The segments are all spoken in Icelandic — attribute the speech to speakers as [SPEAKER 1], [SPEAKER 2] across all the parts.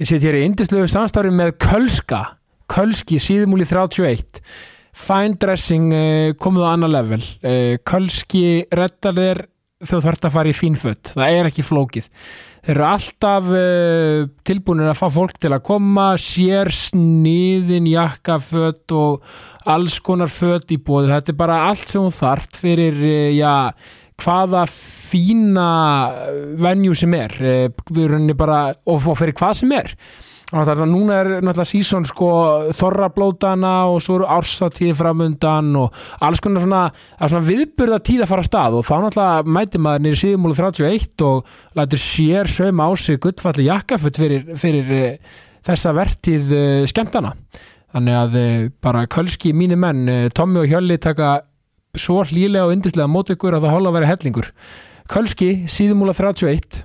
[SPEAKER 1] Ég sit hér í indislegu samstarfi með Kölska Kölski síðumúli 31 Fine dressing uh, komið á annar level uh, Kölski reddar þér þau þarft að fara í fín fött það er ekki flókið þeir eru alltaf uh, tilbúinir að fá fólk til að koma sér sniðin jakkafött og alls konar fött í bóði þetta er bara allt sem hún þarft fyrir uh, já, hvaða fína venju sem er uh, við erum bara, og, og fyrir hvað sem er Og Þannig að núna er náttúrulega sísón sko þorrablótana og svo eru ársatíði framundan og alls konar svona, það er svona viðburða tíð að fara af stað og þá náttúrulega mæti maður niður síðumúlu 31 og lætur sér sögum á sig guttfalli jakkafutt fyrir, fyrir eh, þessa vertíð eh, skemmtana. Þannig að eh, bara kölski mínu menn, eh, Tommi og Hjölli taka svo hlýlega og yndislega mót ykkur að það hóla að vera hellingur. Kölski, síðumúla 31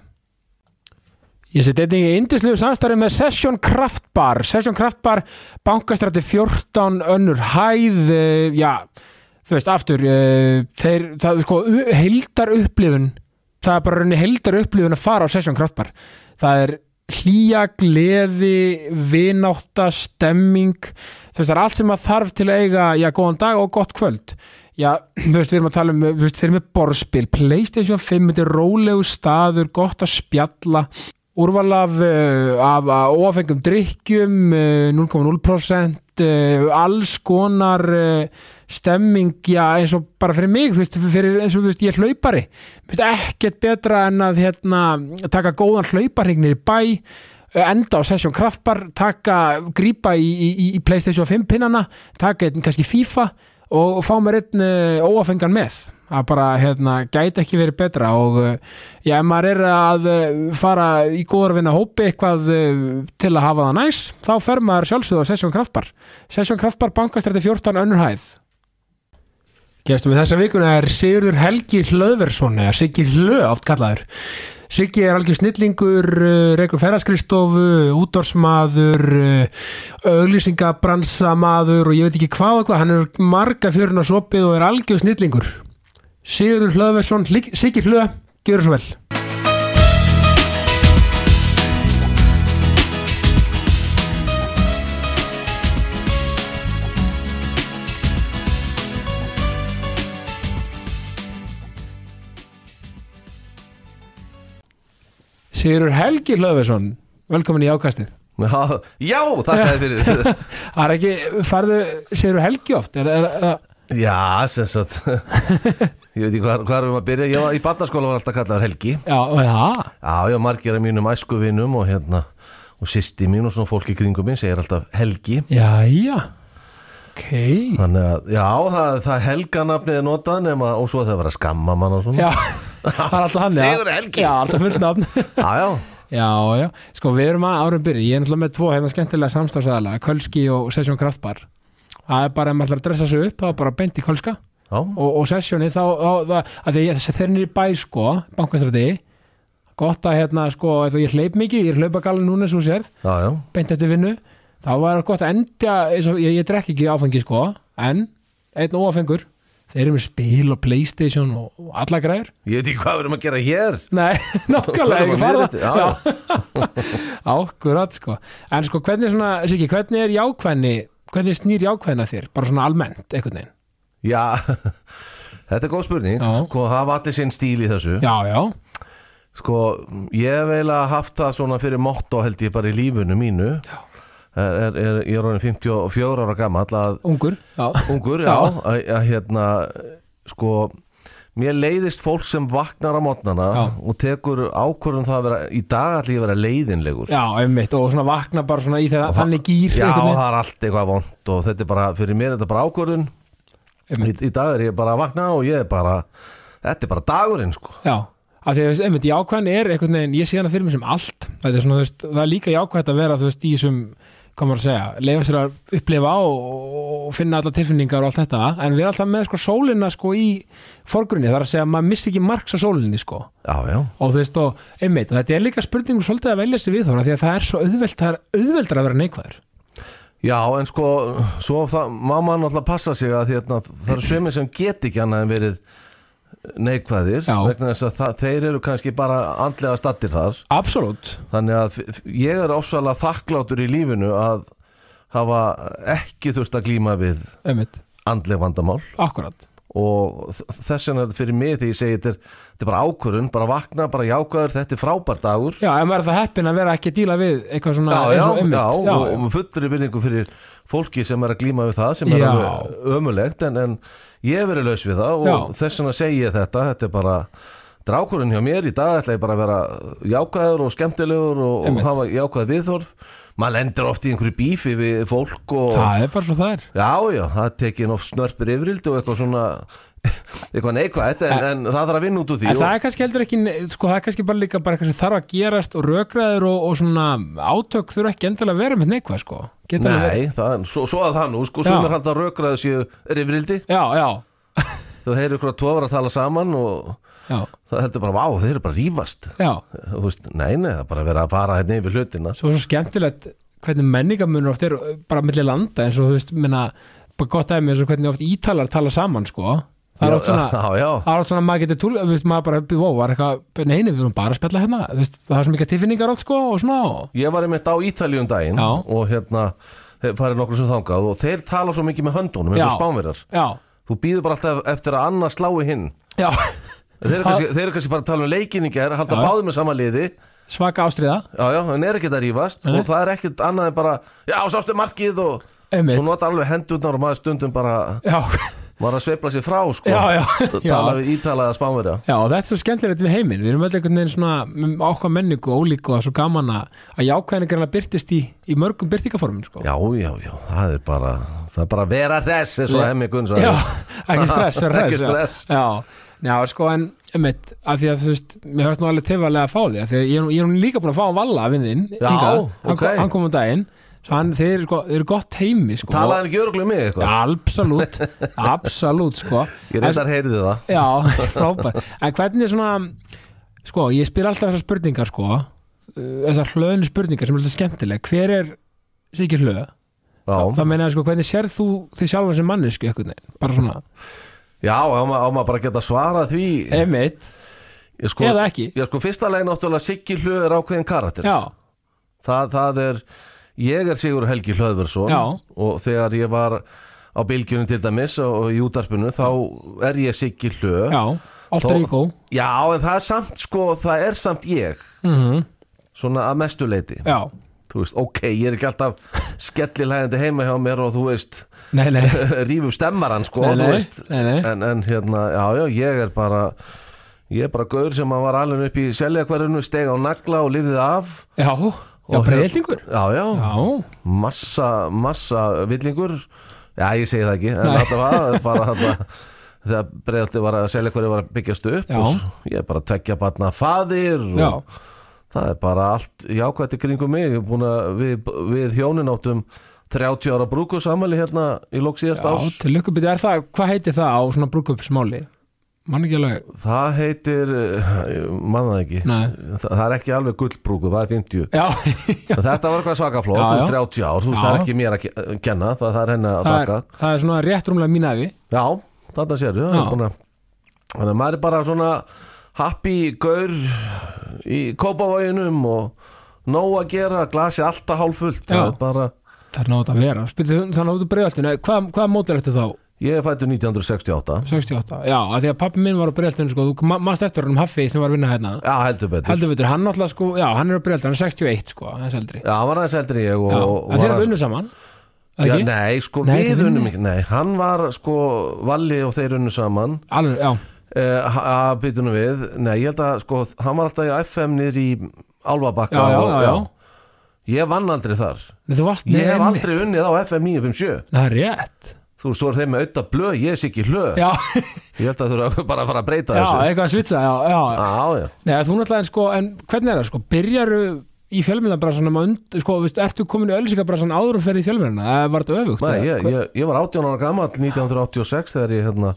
[SPEAKER 1] Ég seti einnig í indislegu samstarfi með Session Craft Bar Session Craft Bar, bankastræti 14 önnur hæð uh, já, þú veist, aftur uh, þeir, það er sko u- heildar upplifun, það er bara rauninni heildar upplifun að fara á Session Craft Bar það er hlýja, gleði vinátta, stemming þú veist, það er allt sem maður þarf til að eiga, já, góðan dag og gott kvöld já, þú veist, við erum að tala um þú veist, þeir eru með borðspil, Playstation 5 þetta er rólegu staður, gott að spjalla úrval af, uh, af af óafengum drikkjum uh, 0,0% uh, alls konar uh, stemming, já eins og bara fyrir mig þú veist, fyrir, eins og þú veist, ég er hlaupari Mér finnst ekkert betra en að hérna, taka góðan hlauparhingnir í bæ uh, enda á Session Kraftbar taka, grípa í, í, í- í Playstation 5 pinnana, taka einn kannski FIFA og, og fá mér einn uh, óafengan með að bara hérna, gæti ekki verið betra og uh, já, ef maður er að uh, fara í góður vinna hópi eitthvað uh, til að hafa það næs þá fer maður sjálfsögðu á Sessjón Kraftbar Sessjón Kraftbar bankastrætti 14 önnur hæð Gestum við þessa vikuna er Sigurður Helgi Hlöðversson eða Siggi Hlö oft kallaður Siggi er algjör snillingur, uh, reykur ferðarskristofu, útdórsmaður, auglýsingabransamaður eh, og ég veit ekki hvað og hvað, hann er marga fjörun á sopið og er algjör snillingur. Sigurður Hlöðvesson, Siggi Hlöð, gjör svo vel. Sigurður Helgi Hlöðvesson, velkomin í ákastið.
[SPEAKER 2] Já, já þakkaði fyrir
[SPEAKER 1] Það er ekki, farðu Sigurður Helgi oft, er, er, er,
[SPEAKER 2] Já, sem sagt Ég veit ekki hvað, hvað erum við að byrja Ég var í barnaskóla var alltaf kallaður Helgi
[SPEAKER 1] já, já,
[SPEAKER 2] Já, já, margir af mínum æskuvinum og hérna og sýsti mín og svona fólki kringum minn segir alltaf Helgi
[SPEAKER 1] já, já, ok,
[SPEAKER 2] Þannig að, já, það, það helganafnið er notað nema, og svo það var að skamma mann og svona
[SPEAKER 1] já, það er alltaf hann, já.
[SPEAKER 2] Sigurður Helgi.
[SPEAKER 1] Já, alltaf fullt nafn.
[SPEAKER 2] Já, já,
[SPEAKER 1] Já, já, sko við erum að árum byrja Ég er náttúrulega með tvo hérna skemmtilega samstafsæðala Kölski og Session Kraftbar Það er bara, ef maður ætlar að dressa sig upp Það er bara beint í Kölska
[SPEAKER 2] já,
[SPEAKER 1] Og, og Sessioni þá, þá það, að því ég- þess að þeir eru niður í bæ sko Bankastræti Gott að hérna sko, eða ég hleyp mikið Ég er hlaupagalinn núna svo sér
[SPEAKER 2] já, já,
[SPEAKER 1] Beint eftir vinnu Þá var gott að endja eins og, ég, ég drekk ekki áfengi sko En, einn óafengur Þeir eru með spil og Playstation og, og alla græður
[SPEAKER 2] ég veit ekki hvað við erum að gera hér
[SPEAKER 1] Nei,
[SPEAKER 2] Förum
[SPEAKER 1] nokkulega
[SPEAKER 2] að
[SPEAKER 1] ekki fara
[SPEAKER 2] miðnætti, já, já.
[SPEAKER 1] Ákkurat sko En sko hvernig svona, Siggi, hvernig er jákvæðni Hvernig snýr jákvæðna þér? Bara svona almennt, einhvern veginn
[SPEAKER 2] já, þetta er góð spurning
[SPEAKER 1] Já.
[SPEAKER 2] Sko, hafa allir sinn stíl í þessu
[SPEAKER 1] Já, já,
[SPEAKER 2] Sko, ég hef eiginlega haft það svona fyrir motto held ég bara í lífunu mínu
[SPEAKER 1] Já.
[SPEAKER 2] er, er, er, Ég er orðin 54 ára gamall að
[SPEAKER 1] ungur Já,
[SPEAKER 2] ungur, já,
[SPEAKER 1] Já.
[SPEAKER 2] að, að hérna sko mér leiðist fólk sem vaknar á mótnana
[SPEAKER 1] Já.
[SPEAKER 2] og tekur ákvörðum það að vera í dag ætla ég að vera leiðinlegur
[SPEAKER 1] já einmitt Og svona vakna bara svona í þegar
[SPEAKER 2] Og
[SPEAKER 1] þannig gýr
[SPEAKER 2] Já, það er allt eitthvað vond og þetta er bara, fyrir mér er þetta bara ákvörðun í,
[SPEAKER 1] Einmitt.
[SPEAKER 2] í dag er ég bara að vakna og ég er bara þetta er bara dagurinn sko
[SPEAKER 1] Já, af því að þú veist, einmitt, jákvæðni er einhvern veginn Ég sé hana fyrir mér sem allt Það er, svona, þú veist, það er líka jákvætt að vera, þú veist, í þessum Hvað maður að segja, leifa sér að upplifa og, og finna alla tilfinningar og allt þetta En við erum alltaf með sko sólina sko í forgrunni, það er að segja að maður missi ekki marks á sólinni sko
[SPEAKER 2] Já, já,
[SPEAKER 1] og þú veist og einmitt, og þetta er líka spurningu svolítið að velja sér viðhóra því að það er svo auðvelt það er auðveldra að vera neikvæður
[SPEAKER 2] já en sko svo það, má maður náttúrulega passa sig að því, hérna, það eru sömur sem get ekki annað en verið neikvæðir
[SPEAKER 1] Já.
[SPEAKER 2] vegna þess að það, þeir eru kannski bara andlega stattir þar
[SPEAKER 1] Absolutt
[SPEAKER 2] þannig að f- f- ég er ofsalega þakklátur í lífinu að hafa ekki þurft að glíma við
[SPEAKER 1] Einmitt,
[SPEAKER 2] andleg vandamál
[SPEAKER 1] akkurat
[SPEAKER 2] og þ- þess vegna er þetta fyrir mig því ég segi þetta er, þetta er bara ákvörun, bara vakna, bara jákaður þetta er frábær dagur
[SPEAKER 1] Já, en maður er það heppin að vera ekki að díla við eitthvað svona
[SPEAKER 2] já,
[SPEAKER 1] hérna eins
[SPEAKER 2] já,
[SPEAKER 1] og einmitt.
[SPEAKER 2] já, og, og fullri vinningu fyrir fólki sem er að glíma við það sem er
[SPEAKER 1] Já.
[SPEAKER 2] alveg ömulegt en, en ég hef verið laus við það og
[SPEAKER 1] Já.
[SPEAKER 2] þess vegna segi ég þetta þetta er bara drákurinn hjá mér í dag ætla ég bara að vera jákvæður og skemmtilegur og, og
[SPEAKER 1] Einmitt.
[SPEAKER 2] hafa jákvæð viðþorf maður lendir oft í einhverju bífi við fólk og
[SPEAKER 1] Það er bara svo það er
[SPEAKER 2] já já, það tekið oft snörpir yfirildi og eitthvað svona eitthvað neikvætt en, en, það þarf að vinna út úr því
[SPEAKER 1] En það er kannski heldur ekki, sko, það er kannski bara líka bara eitthvað sem þarf að gerast og rökraður og, og svona átök þurfa ekki endilega að vera með neikvæð, sko. Getur alveg verið-
[SPEAKER 2] Nei, það, svo, svo að það nú, sko,
[SPEAKER 1] Já.
[SPEAKER 2] sumir halda að rökraðu séu rifrildi
[SPEAKER 1] Já, já,
[SPEAKER 2] þú heyrir ykkur að tóra að tala saman og
[SPEAKER 1] já,
[SPEAKER 2] það heldur bara, vá, þeir eru bara að rífast
[SPEAKER 1] já.
[SPEAKER 2] þú veist, nei, nei, það er bara að vera að fara hérna yfir hlutina
[SPEAKER 1] Svo er svo skemmtilegt hvernig menningamunur oft er uh, bara milli landa eins og þú veist, minna, bara gott dæmi eins og hvernig oft ítalar tala saman, sko. Það er oft svona,
[SPEAKER 2] já, já,
[SPEAKER 1] það er oft svona að maður getur túl, þú veist, maður bara, wow, var eitthvað, neini, við erum bara að spjalla hérna, þú veist, það er svo mikið tilfinningar oft, sko, og svona, og-
[SPEAKER 2] ég var einmitt á Ítalíu um daginn
[SPEAKER 1] Já.
[SPEAKER 2] og hérna hef- farið nokkur sem þangað og þeir tala svo mikið með höndunum eins og
[SPEAKER 1] Já.
[SPEAKER 2] spánverjar
[SPEAKER 1] já,
[SPEAKER 2] þú býður bara alltaf eftir að annars slái hinn
[SPEAKER 1] já,
[SPEAKER 2] þeir eru, kannski, þeir eru kannski bara að tala um leikinningar halda
[SPEAKER 1] Já.
[SPEAKER 2] báðum með sama liði
[SPEAKER 1] svaka ástriða,
[SPEAKER 2] já, já, en er ekkert að rífast
[SPEAKER 1] Nei.
[SPEAKER 2] og það er ekkert annað en bara já, sástu markið og
[SPEAKER 1] einmitt,
[SPEAKER 2] þú nota alveg hendurnar og maður stundum bara
[SPEAKER 1] já,
[SPEAKER 2] var að sveifla sér frá sko,
[SPEAKER 1] já, já,
[SPEAKER 2] tala
[SPEAKER 1] já,
[SPEAKER 2] við ítalaða spánverja
[SPEAKER 1] já, og þetta er svo skemmtilegt við heiminn, við erum öll einhvern veginn svona ákvað menningu og ólíku og það er svo gaman að að jákvæðningarna byrtist í, í mörgum byrtingaformin, sko.
[SPEAKER 2] Já, já, já, það er bara það er bara að vera þess eins og
[SPEAKER 1] Le-
[SPEAKER 2] hemmi Gunn
[SPEAKER 1] Já,
[SPEAKER 2] sagði.
[SPEAKER 1] ekki stress, er hress,
[SPEAKER 2] Ekki
[SPEAKER 1] já.
[SPEAKER 2] stress.
[SPEAKER 1] Já, já, sko, en einmitt, af því að þú veist, mér höfst nú alveg tefalega að fá því, af því að ég, er nú- ég er nú líka búin að fá að valla að vinnin,
[SPEAKER 2] Já,
[SPEAKER 1] hann,
[SPEAKER 2] ok.
[SPEAKER 1] kom- hann kom á daginn, svo hann, þeir, eru sko, þeir eru gott heimi, sko.
[SPEAKER 2] Talaði hann ekki öruglega mig eitthvað?
[SPEAKER 1] Absolutt, absolutt, sko.
[SPEAKER 2] Ég reyndar heyrði það
[SPEAKER 1] Já, frábært. En hvernig svona, sko, ég spyr alltaf þessar spurningar, sko, uh, þessar hlöðinu spurningar sem er alltaf skemmtileg. Hver er Siggi Hlöð?
[SPEAKER 2] Já,
[SPEAKER 1] Það meina, sko, hvernig sér þú þig sjálfan sem mannesku, eitthvað, bara svona,
[SPEAKER 2] já á, ma á maður bara að geta svarað því
[SPEAKER 1] emitt,
[SPEAKER 2] ég sko,
[SPEAKER 1] Eh, eða ekki.
[SPEAKER 2] ég sko, fyrsta leið náttúrulega Siggi Hlöð er ákveðin karakter
[SPEAKER 1] Já,
[SPEAKER 2] það, það er, ég er Sigur Helgi Hlöðversson
[SPEAKER 1] Já.
[SPEAKER 2] og þegar ég var á bylgjunum til dæmis og í útarpinu þá er ég Siggi Hlöð
[SPEAKER 1] já, alltaf
[SPEAKER 2] Þó-
[SPEAKER 1] í góð.
[SPEAKER 2] já, en það er samt, sko, það er samt ég svona að mestu leiti
[SPEAKER 1] Mhm. Já,
[SPEAKER 2] þú veist, ok, ég er ekki alltaf skellilægandi heima hjá mér og þú veist
[SPEAKER 1] nei, nei,
[SPEAKER 2] rífum stemmaran sko,
[SPEAKER 1] Nei,
[SPEAKER 2] þú
[SPEAKER 1] nei,
[SPEAKER 2] veist
[SPEAKER 1] nei, nei.
[SPEAKER 2] En, en hérna, já, já, ég er bara ég er bara gaur sem að var alveg upp í selja hverjunu, steg á nagla og lifið af
[SPEAKER 1] já, já,
[SPEAKER 2] Og
[SPEAKER 1] breyðlingur.
[SPEAKER 2] já, já,
[SPEAKER 1] Já,
[SPEAKER 2] massa, massa villingur, já, ég segi það ekki en
[SPEAKER 1] Nei.
[SPEAKER 2] alltaf að, bara þarna þegar breyðaldi var að selja hverju var að byggjast upp
[SPEAKER 1] Já.
[SPEAKER 2] og s- ég er bara að tekja batna faðir og
[SPEAKER 1] já,
[SPEAKER 2] Það er bara allt jákvætt í kringum mig Ég er búin að við, við hjónin áttum 30 ára brúku samæli hérna í lók síðast
[SPEAKER 1] já,
[SPEAKER 2] árs
[SPEAKER 1] til lukkubið. Er það, hvað heitir það á svona brúkupsmáli? Mann ekki alveg,
[SPEAKER 2] Það heitir, eh, man það ekki
[SPEAKER 1] Nei.
[SPEAKER 2] það, það er ekki alveg gullbrúku, það er 50
[SPEAKER 1] já,
[SPEAKER 2] En Þetta var eitthvað svakaflóð,
[SPEAKER 1] Já,
[SPEAKER 2] þú veist
[SPEAKER 1] já.
[SPEAKER 2] 30 ár Þú veist,
[SPEAKER 1] Já.
[SPEAKER 2] það er ekki mér að ke- kenna, það, það er henni að
[SPEAKER 1] það er,
[SPEAKER 2] taka
[SPEAKER 1] það er svona rétt rúmlega mín afi.
[SPEAKER 2] Já, þarna sérðu það
[SPEAKER 1] Já.
[SPEAKER 2] er búin að- Þannig að maður er bara svona happy gaur í kópavoginum og nóg að gera, glasið alltaf hálffullt
[SPEAKER 1] Já.
[SPEAKER 2] Það er bara,
[SPEAKER 1] Það er nátt að vera. Spyrir þannig út úr bregðaltinu, hvað, hvað mótar eftir þá?
[SPEAKER 2] ég er fættur 1968
[SPEAKER 1] 68? Já, að því að pappi minn var á bregðaltinu, sko, þú ma- manst eftir hann um Haffi sem var að vinna hérna.
[SPEAKER 2] Já, heldur betur
[SPEAKER 1] Heldur betur, hann náttúrulega, sko, já, hann er á bregðaltinu, hann er 61, sko, hans eldri.
[SPEAKER 2] Já, hann var aðeins eldri en ég og,
[SPEAKER 1] Já,
[SPEAKER 2] og
[SPEAKER 1] en
[SPEAKER 2] var
[SPEAKER 1] þeir eru
[SPEAKER 2] aðeins-
[SPEAKER 1] unnu saman,
[SPEAKER 2] Já,
[SPEAKER 1] eða ekki?
[SPEAKER 2] nei, sko,
[SPEAKER 1] Nei, þið
[SPEAKER 2] við
[SPEAKER 1] unnu.
[SPEAKER 2] unnum ekki Nei, hann var sko Valli og þeir unnu saman
[SPEAKER 1] Alveg, já,
[SPEAKER 2] eh, að bytunum við Nei, ég held að sko, hann var alltaf í FM niður í Álfabakka
[SPEAKER 1] já, já,
[SPEAKER 2] og,
[SPEAKER 1] já, já.
[SPEAKER 2] Ég vann aldrei þar
[SPEAKER 1] Nei, þú varst,
[SPEAKER 2] Ég hef
[SPEAKER 1] einmitt.
[SPEAKER 2] aldrei unnið á FM 957
[SPEAKER 1] Nei, Það er rétt.
[SPEAKER 2] Þú veist, svo er þeim með auðvitað blöð, ég sé ekki hlöð
[SPEAKER 1] Já,
[SPEAKER 2] Ég held að þú eru bara að fara að breyta
[SPEAKER 1] já,
[SPEAKER 2] þessu
[SPEAKER 1] eitthvað að svitsa, já, já.
[SPEAKER 2] Já, já
[SPEAKER 1] Nei, þú náttúrulega, en sko, en hvernig er það, sko, byrjaru í fjölmjölabransanum að und, sko, veist, ertu komin í ölsingabransan áður og ferði í fjölmjölana, eða var þetta öfugt?
[SPEAKER 2] Nei,
[SPEAKER 1] eða
[SPEAKER 2] ég,
[SPEAKER 1] hvað-
[SPEAKER 2] ég, ég var 18 ára gamall 1986 þegar ég hérna,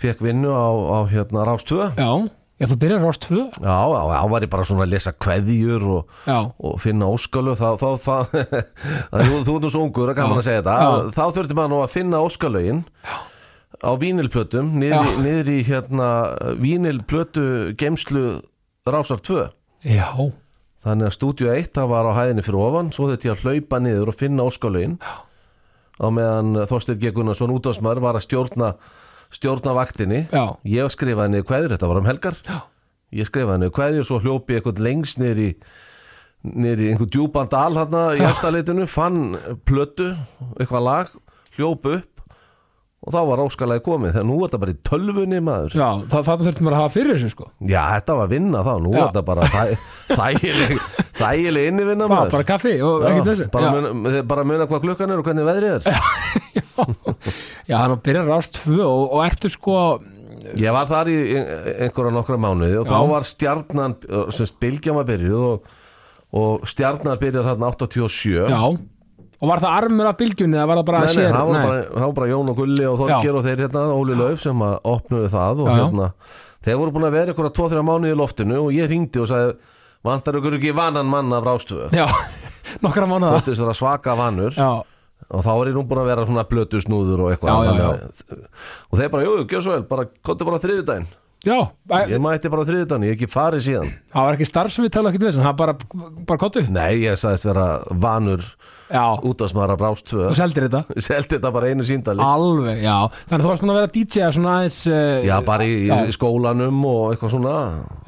[SPEAKER 2] fekk vinnu á, á hérna, Rás 2
[SPEAKER 1] Já, já, þú byrjar rást tvö,
[SPEAKER 2] Já, já, þá var ég bara svona að lesa kveðjur og,
[SPEAKER 1] já,
[SPEAKER 2] og finna óskalu þá, þá, þá, þá þú, þú ert nú svo ungur að gaman að segja þetta
[SPEAKER 1] Já.
[SPEAKER 2] þá þurfti maður nú að finna óskalögin á vínilplötum niður, í-
[SPEAKER 1] Já.
[SPEAKER 2] niður í hérna vínilplötu geimslu rásar 2
[SPEAKER 1] Já,
[SPEAKER 2] Þannig að stúdíu 1 það var á hæðinni fyrir ofan svo þetta ég að hlaupa niður og finna óskalögin á meðan Þorsteinn G. Gunnarsson útvarsmaður var að stjórna stjórna vaktinni
[SPEAKER 1] já,
[SPEAKER 2] ég skrifaði niður kveður, þetta var um helgar
[SPEAKER 1] já
[SPEAKER 2] ég skrifaði niður kveður, svo hljópi ég eitthvað lengs niður í niður í einhver djúpan dal hérna í eftirleitinu, fann plötu eitthvað lag, hljóp upp og þá var óskalagi komið þegar nú er þetta bara í tölvunni maður
[SPEAKER 1] Já, það, það þurfti maður að hafa fyrir þessu sko
[SPEAKER 2] já, þetta var vinna þá, nú
[SPEAKER 1] Já.
[SPEAKER 2] er þetta bara þæ- þægileg, þægileg innivinna
[SPEAKER 1] Bara,
[SPEAKER 2] maður
[SPEAKER 1] bara kaffi og
[SPEAKER 2] Já,
[SPEAKER 1] ekkert þessu
[SPEAKER 2] bara,
[SPEAKER 1] já.
[SPEAKER 2] muna, þið bara muna hvað klukkan er og hvernig veðrið er
[SPEAKER 1] já, hann byrjar rást tvö og, og ertu sko
[SPEAKER 2] ég var þar í ein- einhverja nokkra mánuði og
[SPEAKER 1] Já.
[SPEAKER 2] þá var stjarnan semst Bilgjama byrjuð og, og stjarnan byrjar þarna 87
[SPEAKER 1] Já, og var það armur af bylgjunni eða var það bara
[SPEAKER 2] Nei,
[SPEAKER 1] að
[SPEAKER 2] nei,
[SPEAKER 1] sér
[SPEAKER 2] það var, bara, það var bara Jón og Gulli og Þorger og þeir hérna, Óli Lauf sem að opnuðu það og
[SPEAKER 1] Já, já.
[SPEAKER 2] hérna, þeir voru búin að vera einhverja 2-3 mánuði í loftinu og ég ringdi og sagði vantar ykkur ekki vanan mann af rástöfu
[SPEAKER 1] Já, nokkra mánuða
[SPEAKER 2] þóttist vera svaka vanur
[SPEAKER 1] Já,
[SPEAKER 2] og þá er ég nú búin að vera svona blötu snúður og eitthvað
[SPEAKER 1] Já, já,
[SPEAKER 2] þannig að- og þeir bara, jú, gjör svo vel, bara, komdu bara þriðudaginn
[SPEAKER 1] já, æ,
[SPEAKER 2] ég mætti bara þriðudaginn, ég hef ekki farið síðan
[SPEAKER 1] það var ekki starfsviðtal og ekkert þessu, hann bara, bara kottu
[SPEAKER 2] nei, ég sagðist vera vanur
[SPEAKER 1] Já,
[SPEAKER 2] út af smara brást
[SPEAKER 1] þú
[SPEAKER 2] tvö
[SPEAKER 1] Ah, seldir þetta
[SPEAKER 2] seldi þetta bara einu síndali
[SPEAKER 1] Alveg, já, þannig að þú varst búin að vera DJ svona aðeins uh,
[SPEAKER 2] já, bara í,
[SPEAKER 1] Já.
[SPEAKER 2] í skólanum og eitthvað svona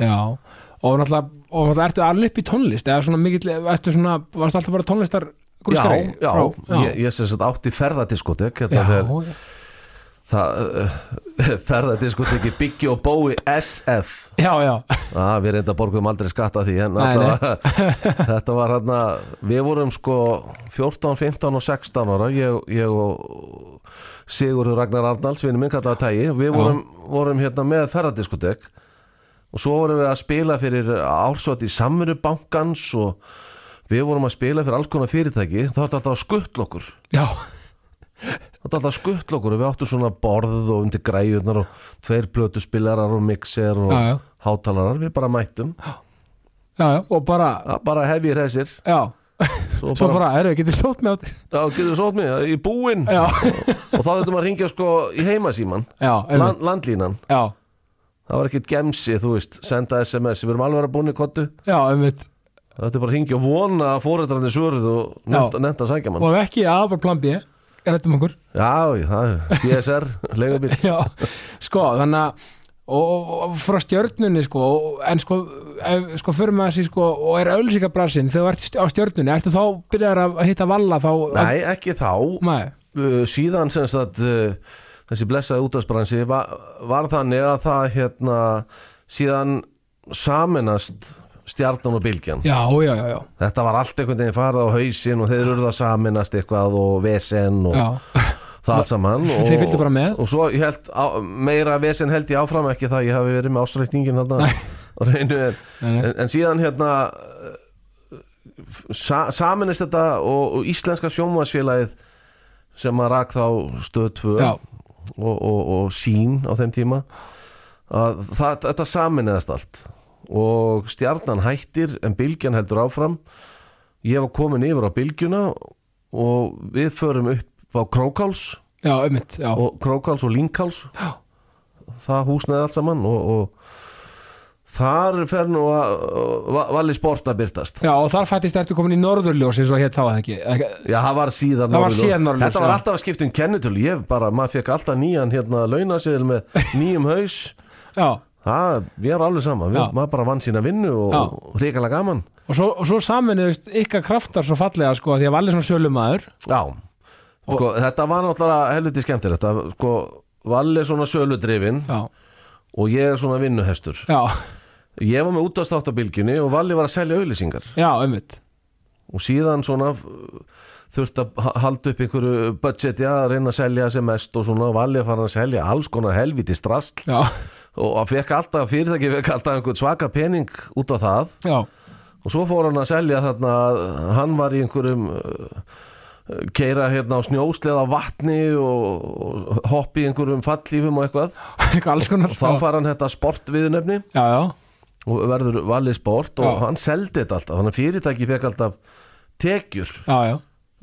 [SPEAKER 1] já. og náttúrulega, og náttúrulega ertu alveg upp í tónlist eða svona mikill, ertu svona, varst alltaf bara tónlistar grúskari
[SPEAKER 2] já, já,
[SPEAKER 1] frá,
[SPEAKER 2] ég, ég sem sagt átti ferðadiskotek
[SPEAKER 1] já,
[SPEAKER 2] hérna þegar
[SPEAKER 1] já,
[SPEAKER 2] það ferðadiskoteki Biggi og Bói SF
[SPEAKER 1] já, já,
[SPEAKER 2] að við reynda borgum aldrei skatta því en
[SPEAKER 1] Nei,
[SPEAKER 2] þetta, var, þetta var hérna við vorum sko 14, 15 og 16 ára ég, ég og Sigurður Ragnar Arnalds vinur minn kallaði tægi við vorum, vorum hérna með ferðadiskotek og svo vorum við að spila fyrir ársvöld í samverubankans og við vorum að spila fyrir alls konar fyrirtæki þá er þetta alltaf að skuttla okkur
[SPEAKER 1] já,
[SPEAKER 2] Það er alltaf skuttl okkur og við áttum svona borð og undir græjurnar og tveir blötu spilarar og mixer og
[SPEAKER 1] Já, já.
[SPEAKER 2] hátalarar, við bara mættum
[SPEAKER 1] já, já, og bara
[SPEAKER 2] Það bara hefjir þessir
[SPEAKER 1] já,
[SPEAKER 2] Svo
[SPEAKER 1] svo bara, herru, getur sótt með á þér
[SPEAKER 2] já, getur þú sótt mig í búinn
[SPEAKER 1] já,
[SPEAKER 2] og þá þetta maður að ringja sko í heimasíman
[SPEAKER 1] já, einmitt.
[SPEAKER 2] land, landlínan,
[SPEAKER 1] já,
[SPEAKER 2] það var ekkert gemsi þú veist, senda sms, við erum alveg að búinni kottu,
[SPEAKER 1] já, einmitt
[SPEAKER 2] þetta er bara að ringja og vona að fóreldrarnir svöruð og nefnt,
[SPEAKER 1] Já.
[SPEAKER 2] nefnt að sækja mann
[SPEAKER 1] og ef ekki, já, bara plan B réttum okkur,
[SPEAKER 2] Já, það er DSR, leigubíl
[SPEAKER 1] já, sko, þannig að og, og, og frá stjörnunni sko, og- en sko, ef, sko fyrir maður þessi sko, og er ölsikabrassin þegar þú ert stj- á stjörnunni, ertu þá byrjar að hitta valla þá,
[SPEAKER 2] Nei, ekki þá,
[SPEAKER 1] maður,
[SPEAKER 2] uh, síðan sem sagt uh, þessi blessaði útastbransi var, var þannig að það hérna síðan saminast stjarnan og bylgjan
[SPEAKER 1] já, já, já, já
[SPEAKER 2] þetta var allt einhvern veginn farið á hausinn og þeir eru það saminast eitthvað og vesen og
[SPEAKER 1] já,
[SPEAKER 2] það allt saman og,
[SPEAKER 1] Þeir fylgdu bara með.
[SPEAKER 2] og svo ég held á, meira vesen held ég áfram ekki það ég hafi verið með ásreikningin þarna á reynu en,
[SPEAKER 1] Nei, nei.
[SPEAKER 2] en, en síðan hérna uh, sa, saminist þetta og, og íslenska sjónvarsfélagið sem að rak þá stöð 2
[SPEAKER 1] já,
[SPEAKER 2] og, og, og sín á þeim tíma að það, þetta saminniðast allt og stjarnan hættir en bylgjan heldur áfram ég var komin yfir á bylgjuna og við förum upp á Krókáls
[SPEAKER 1] já, ummitt, já
[SPEAKER 2] og Krókáls og Linkáls
[SPEAKER 1] Já.
[SPEAKER 2] það húsnaði allt saman og, og þar fer nú að va- Valli Sport að byrtast
[SPEAKER 1] Já, og þar fættist ertu komin í norðurljós eins og hétt þá að ekki Ekki-
[SPEAKER 2] Já, það var síðan
[SPEAKER 1] Það var
[SPEAKER 2] Norðurljós.
[SPEAKER 1] síðan Norðurljós,
[SPEAKER 2] Þetta var
[SPEAKER 1] já.
[SPEAKER 2] alltaf að skipta um kennitölu Ég bara, maður fekk alltaf nýjan hérna launaseðil með nýjum haus
[SPEAKER 1] Já,
[SPEAKER 2] Það, við erum alveg sama, við,
[SPEAKER 1] Já.
[SPEAKER 2] maður bara vann sína vinnu
[SPEAKER 1] Já.
[SPEAKER 2] og hrikalega gaman
[SPEAKER 1] og svo, og svo saminuðust ykkar kraftar svo fallega sko, því að valið svona sölumæður
[SPEAKER 2] Já, sko, þetta var náttúrulega helviti skemmtilegt að, sko, Valli er svona söludrifin
[SPEAKER 1] Já,
[SPEAKER 2] og ég er svona vinnuhestur
[SPEAKER 1] já,
[SPEAKER 2] Ég var með útastátt á bylginni og Valli var að selja auðlýsingar
[SPEAKER 1] já, ummitt
[SPEAKER 2] og síðan svona f- þurfti að ha- halda upp einhverju budgeti að reyna að selja sem mest og svona og Valli að fara að selja alls konar helviti strasl
[SPEAKER 1] Já,
[SPEAKER 2] og að fekk alltaf fyrirtæki fekk alltaf einhvern svaka pening út á það
[SPEAKER 1] já,
[SPEAKER 2] og svo fór hann að selja þarna að hann var í einhverjum uh, keira hérna á snjósleða á vatni og, og hoppi í einhverjum fallífum og eitthvað
[SPEAKER 1] eitthvað alls konar
[SPEAKER 2] og þá
[SPEAKER 1] Já.
[SPEAKER 2] fær hann þetta sportviðunöfni
[SPEAKER 1] Já, já,
[SPEAKER 2] og verður valið sport og
[SPEAKER 1] Já.
[SPEAKER 2] hann seldi þetta alltaf þannig að fyrirtæki fekk alltaf tekjur
[SPEAKER 1] já, já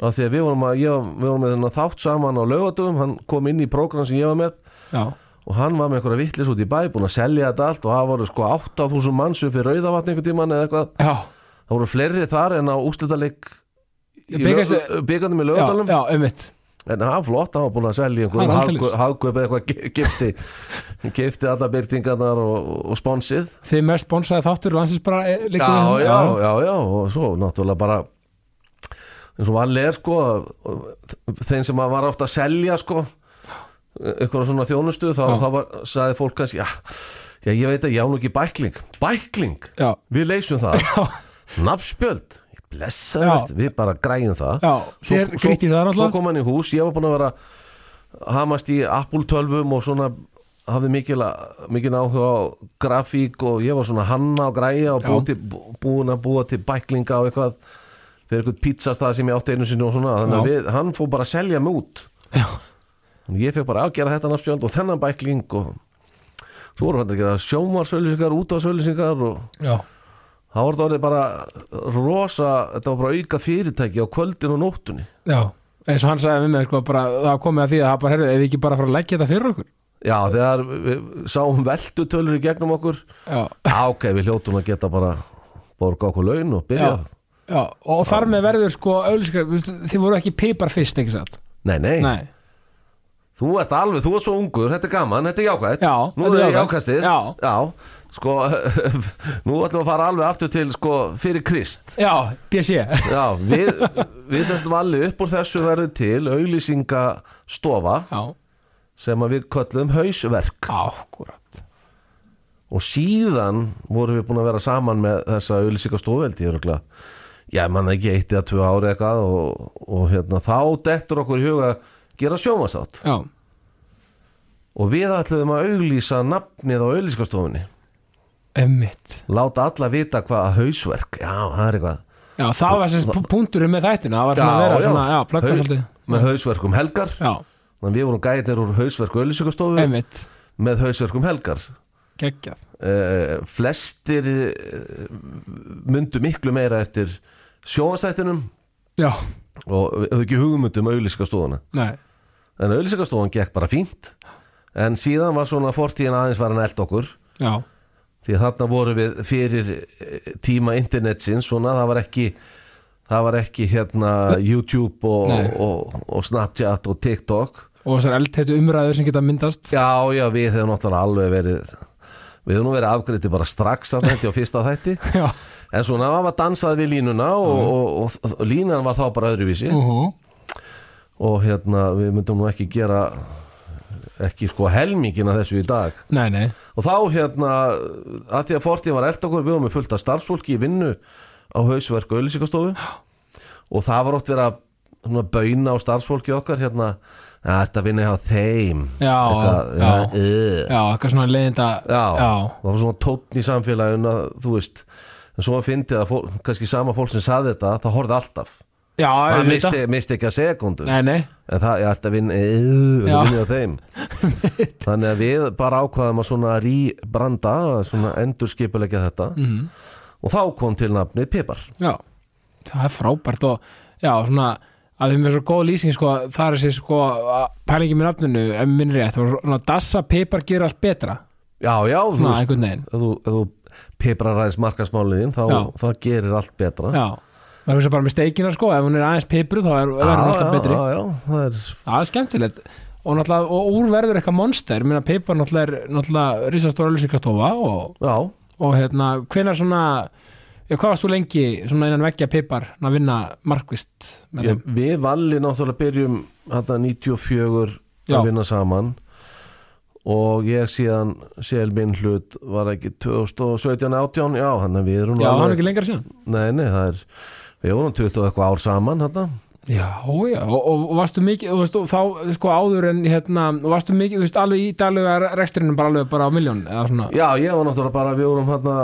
[SPEAKER 2] af því að við vorum, að, ég, við vorum með þennan þátt saman á laugadöfum hann kom inn í prógram sem ég var með
[SPEAKER 1] já,
[SPEAKER 2] og hann var með einhverja vittlis út í bæ búin að selja þetta allt og það voru sko 8000 manns upp fyrir rauðavatn einhvern tímann eða eitthvað
[SPEAKER 1] já,
[SPEAKER 2] það voru fleiri þar en á úslitaleg
[SPEAKER 1] Bikars-
[SPEAKER 2] byggandum í
[SPEAKER 1] já,
[SPEAKER 2] lögadalum
[SPEAKER 1] já, einmitt
[SPEAKER 2] en hann flott, hann var búin að selja
[SPEAKER 1] Hann er aldeilis.
[SPEAKER 2] einhverjum hagkaup eða eitthvað gi- gifti gifti alla byrtingarnar og, og sponsið
[SPEAKER 1] Þið mest bonsaði þáttur landsins bara eh, liggur við
[SPEAKER 2] já,
[SPEAKER 1] hann.
[SPEAKER 2] já, já, já, og svo náttúrulega bara eins og vanlega er sko þeim sem maður var ofta að selja sko ykkur svona þjónustu þá,
[SPEAKER 1] Já.
[SPEAKER 2] þá var, sagði fólk kannski já, já, ég veit að ég á nú ekki bækling bækling,
[SPEAKER 1] já,
[SPEAKER 2] við leysum það
[SPEAKER 1] já,
[SPEAKER 2] nafnspjöld, blessaði
[SPEAKER 1] Já.
[SPEAKER 2] við bara græjum það
[SPEAKER 1] já, þér grýtti það
[SPEAKER 2] svo
[SPEAKER 1] náttúrulega
[SPEAKER 2] kom hann í hús, ég var búin að vera hamast í Apple 12 og svona hafði mikil, mikil áhuga á grafík og ég var svona hanna og græja og bú
[SPEAKER 1] Já.
[SPEAKER 2] til, bú- búin að búa til bæklinga og eitthvað fyrir eitthvað pizzastað sem ég átti einu sinni og svona þannig að
[SPEAKER 1] Já.
[SPEAKER 2] við, hann fór bara að selja mig út
[SPEAKER 1] Já.
[SPEAKER 2] Þannig ég fekk bara að gera þetta náttúrulega og þennan bækling og svo voru hann að gera sjómarsölusingar, útvarsölusingar og
[SPEAKER 1] já,
[SPEAKER 2] það voru þetta orðið bara rosa, þetta var bara auka fyrirtæki á kvöldin og nóttunni
[SPEAKER 1] já eins og hann sagði við mig sko bara það komið að því að það bara herðu ef við ekki bara fara að leggja þetta fyrir okkur
[SPEAKER 2] Já, þegar við sáum veldutölur í gegnum okkur
[SPEAKER 1] já,
[SPEAKER 2] Já, ok, við hljótum að geta bara borga okkur laun og byrja
[SPEAKER 1] já, já og þar með verður sko auðlýskar þið voru ekki pipar fyrst ekki satt
[SPEAKER 2] Nei, nei,
[SPEAKER 1] nei,
[SPEAKER 2] þú ert alveg, þú ert svo ungur, þetta er gaman, þetta er jákvætt
[SPEAKER 1] já,
[SPEAKER 2] Nú
[SPEAKER 1] þetta
[SPEAKER 2] er ég
[SPEAKER 1] jákvætt.
[SPEAKER 2] jákastið
[SPEAKER 1] já,
[SPEAKER 2] sko, nú ætlum við að fara alveg aftur til, sko, fyrir Krist
[SPEAKER 1] já, BSE
[SPEAKER 2] Já, við, við sestum alveg upp úr þessu verður til auglýsingastofa
[SPEAKER 1] já,
[SPEAKER 2] sem að við köllum hausverk
[SPEAKER 1] ákúrat
[SPEAKER 2] og síðan vorum við búin að vera saman með þessa auðlýsingastofeldi örugla. Já, mann ekki eitt eða tvö ári eitthvað og, og hérna, þá dettur okkur í huga að gera sjómasátt
[SPEAKER 1] já,
[SPEAKER 2] og við ætluðum að auglýsa nafnið á auðlýsingastofunni
[SPEAKER 1] emmitt
[SPEAKER 2] láta alla vita hvað hausverk já, það er eitthvað
[SPEAKER 1] já, það var sem punkturinn með þættina það var svona að vera svona, já, plöggast
[SPEAKER 2] Haus-
[SPEAKER 1] svolítið
[SPEAKER 2] með hausverkum helgar
[SPEAKER 1] já,
[SPEAKER 2] þannig að við vorum gætir úr hausverk auðlýsingastofu
[SPEAKER 1] emmitt,
[SPEAKER 2] með hausverkum helgar
[SPEAKER 1] geggjað
[SPEAKER 2] uh, flestir uh, myndu miklu meira eftir sjónastættinum
[SPEAKER 1] já,
[SPEAKER 2] og við höfum ekki hugmyndum auðlýsingastofuna
[SPEAKER 1] nei,
[SPEAKER 2] en auðlýsingastofan gekk bara fínt en síðan var svona fortíðin aðeins var hann eld okkur
[SPEAKER 1] já,
[SPEAKER 2] því að þarna voru við fyrir eh, tíma internetsins svona það var ekki það var ekki hérna YouTube
[SPEAKER 1] Nei.
[SPEAKER 2] og, og, og Snapchat og TikTok
[SPEAKER 1] og þessar eldhættu umræður sem geta myndast
[SPEAKER 2] já já við hefum náttúrulega alveg verið við hefum nú verið afgriði bara strax að þetta á fyrsta þætti
[SPEAKER 1] já,
[SPEAKER 2] en svona það var dansað við línuna og, og, og, og línan var þá bara öðruvísi
[SPEAKER 1] úhú
[SPEAKER 2] og hérna við myndum nú ekki gera ekki sko helmingina þessu í dag
[SPEAKER 1] Nei, nei,
[SPEAKER 2] og þá hérna að því að fortíð var eld okkur við varum með fullt af starfsfólki í vinnu á hausverk og öllisíkastofu og það var oft verið að svona, bauna á starfsfólki okkar hérna að þetta vinna hjá þeim
[SPEAKER 1] já,
[SPEAKER 2] Eitthvað,
[SPEAKER 1] já,
[SPEAKER 2] já, eh.
[SPEAKER 1] já, eitthvað svona leiðinda
[SPEAKER 2] Já,
[SPEAKER 1] já,
[SPEAKER 2] það var svona tótn í samfélaginu að, þú veist, en svo að fyndi að fólk, kannski sama fólk sem saði þetta, það horfði alltaf
[SPEAKER 1] já,
[SPEAKER 2] það
[SPEAKER 1] auðvitað.
[SPEAKER 2] misti, misti ekki að sekundu
[SPEAKER 1] Nei, nei,
[SPEAKER 2] En það er alltaf vinn Það
[SPEAKER 1] Já.
[SPEAKER 2] vinni á þeim Þannig að við bara ákvaðum að svona rýbranda Svona endurskipulegja þetta
[SPEAKER 1] Mhm.
[SPEAKER 2] Og þá kom til nafnið Pipar
[SPEAKER 1] já Það er frábært og já, svona að þeim er svo góð lýsing sko, það er þessi sko að- pælingi með nafninu, ef minn rétt það var svona dassa, pipar, gera allt betra
[SPEAKER 2] Já, já, þú
[SPEAKER 1] svona
[SPEAKER 2] veist
[SPEAKER 1] einhvern veginn
[SPEAKER 2] Ef þú, ef þú piprar aðeins markasmáliðin þá,
[SPEAKER 1] Já.
[SPEAKER 2] þá gerir allt betra
[SPEAKER 1] Já, það er bara með steikina sko ef hún er aðeins pipru þá er það alltaf
[SPEAKER 2] já,
[SPEAKER 1] betri
[SPEAKER 2] já, já, það er
[SPEAKER 1] Það er skemmtilegt og náttúrulega, og úr verður eitthvað monster minna pipar náttúrulega er náttúrulega risastóra lýsingastofa og
[SPEAKER 2] Já,
[SPEAKER 1] og hérna, hvenær svona já, hvað varst þú lengi svona innan veggja pipar að vinna markvist með
[SPEAKER 2] ég,
[SPEAKER 1] þeim?
[SPEAKER 2] við valli náttúrulega byrjum Þetta 94
[SPEAKER 1] Já.
[SPEAKER 2] að vinna saman Og ég síðan Sél minn hlut var ekki 2017-18, já, hann við erum
[SPEAKER 1] Já,
[SPEAKER 2] alveg-
[SPEAKER 1] hann er ekki lengra síðan
[SPEAKER 2] Nei, nei, það er Við vorum 20 og eitthvað ár saman þarna
[SPEAKER 1] Já, já, og, og, og varstu mikið og, veist, og þá sko áður en hérna og varstu mikið, þú veist, alveg í daglega rekstrinum bara alveg bara á miljón eða svona
[SPEAKER 2] Já, ég var náttúrulega bara, við vorum þarna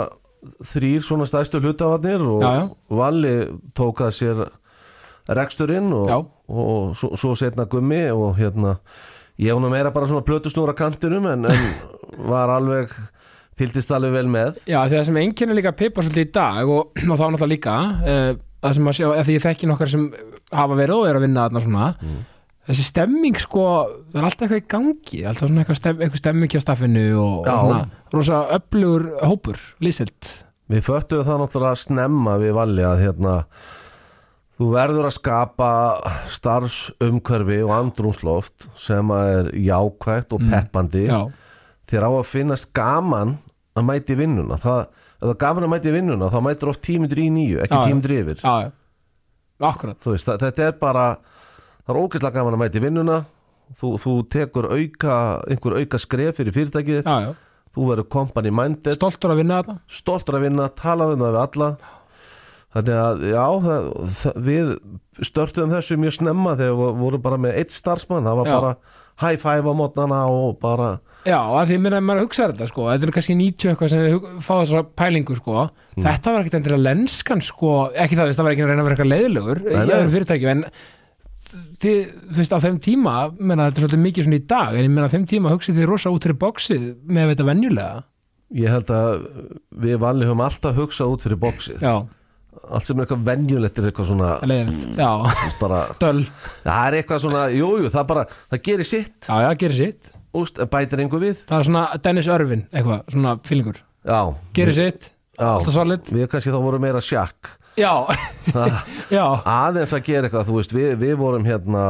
[SPEAKER 2] þrýr svona stærstu hlutafarnir og
[SPEAKER 1] Já, já.
[SPEAKER 2] Valli tók að sér reksturinn og,
[SPEAKER 1] Já.
[SPEAKER 2] og svo, svo setna gummi og hérna ég var nú meira bara svona plötusnúra kantinum en, en var alveg fylgdist alveg vel með
[SPEAKER 1] Já, því það sem einkennir líka pipar svolítið í dag og, og þá eh, náttúrulega líka uh, það sem að sjá, eða því ég þekki nokkar sem hafa verið og er að vinna þarna svona þessi stemming sko það er alltaf eitthvað í gangi alltaf svona eitthvað, stem, eitthvað stemming hjá staffinu og, og
[SPEAKER 2] Já.
[SPEAKER 1] svona rosa öflugur hópur lýsild
[SPEAKER 2] Við föttuðum það náttúrulega að snemma við valja að hérna þú verður að skapa starfsumkörfi og andrúnsloft sem að er jákvægt og peppandi
[SPEAKER 1] Mm. já,
[SPEAKER 2] þér á að finnast gaman að mæti vinnuna það, ef það er gaman að mæti vinnuna þá mætir oft tímindri í nýju, ekki
[SPEAKER 1] Já, já.
[SPEAKER 2] tímindri yfir
[SPEAKER 1] já, já. akkurat
[SPEAKER 2] þú veist, þa- þetta er bara það er ógeðslega gaman að mæti vinnuna þú, þú tekur auka einhver auka skref fyrir fyrirtækið þitt.
[SPEAKER 1] já, já.
[SPEAKER 2] þú verður company minded
[SPEAKER 1] stoltur að vinna þarna
[SPEAKER 2] stoltur að vinna, tala um það við alla þannig að já það, það, við störtum þessu mjög snemma þegar við vorum bara með eitt starfsmann, það var
[SPEAKER 1] Já.
[SPEAKER 2] bara high five á mótnana og bara
[SPEAKER 1] já, að því að minna að maður hugsa þetta sko þetta er kannski 90 eitthvað sem þið hug- fá þessar pælingu sko
[SPEAKER 2] Mm.
[SPEAKER 1] þetta var ekkit endilega lenskan sko ekki það, þú veist, það var ekki að reyna að vera eitthvað leiðilegur
[SPEAKER 2] Nei,
[SPEAKER 1] í
[SPEAKER 2] nei.
[SPEAKER 1] öðrum fyrirtækjum en þið, þú veist, á þeim tíma menna, þetta er svolítið mikið svona í dag en ég menna á þeim tíma hugsið þið rosa út fyrir bóksið með þetta venjulega
[SPEAKER 2] ég held að við vanlega höfum alltaf hugsað út fyrir bóksið
[SPEAKER 1] já,
[SPEAKER 2] allt sem er eitthvað venjulegt er eitthvað svona
[SPEAKER 1] leiðilegt, já,
[SPEAKER 2] bara,
[SPEAKER 1] döl
[SPEAKER 2] það er eitthvað svona, jújú, jú, það bara það gerir sitt,
[SPEAKER 1] Já, já, gerir sitt.
[SPEAKER 2] úst, bætir einhver við
[SPEAKER 1] Það er svona Dennis Örvin, eitthvað, svona fílingur.
[SPEAKER 2] já,
[SPEAKER 1] Gerir sitt, alltaf
[SPEAKER 2] já,
[SPEAKER 1] solid.
[SPEAKER 2] við kannski þá vorum meira sjakk
[SPEAKER 1] Já, já,
[SPEAKER 2] aðeins að gera eitthvað, þú veist, við, við vorum hérna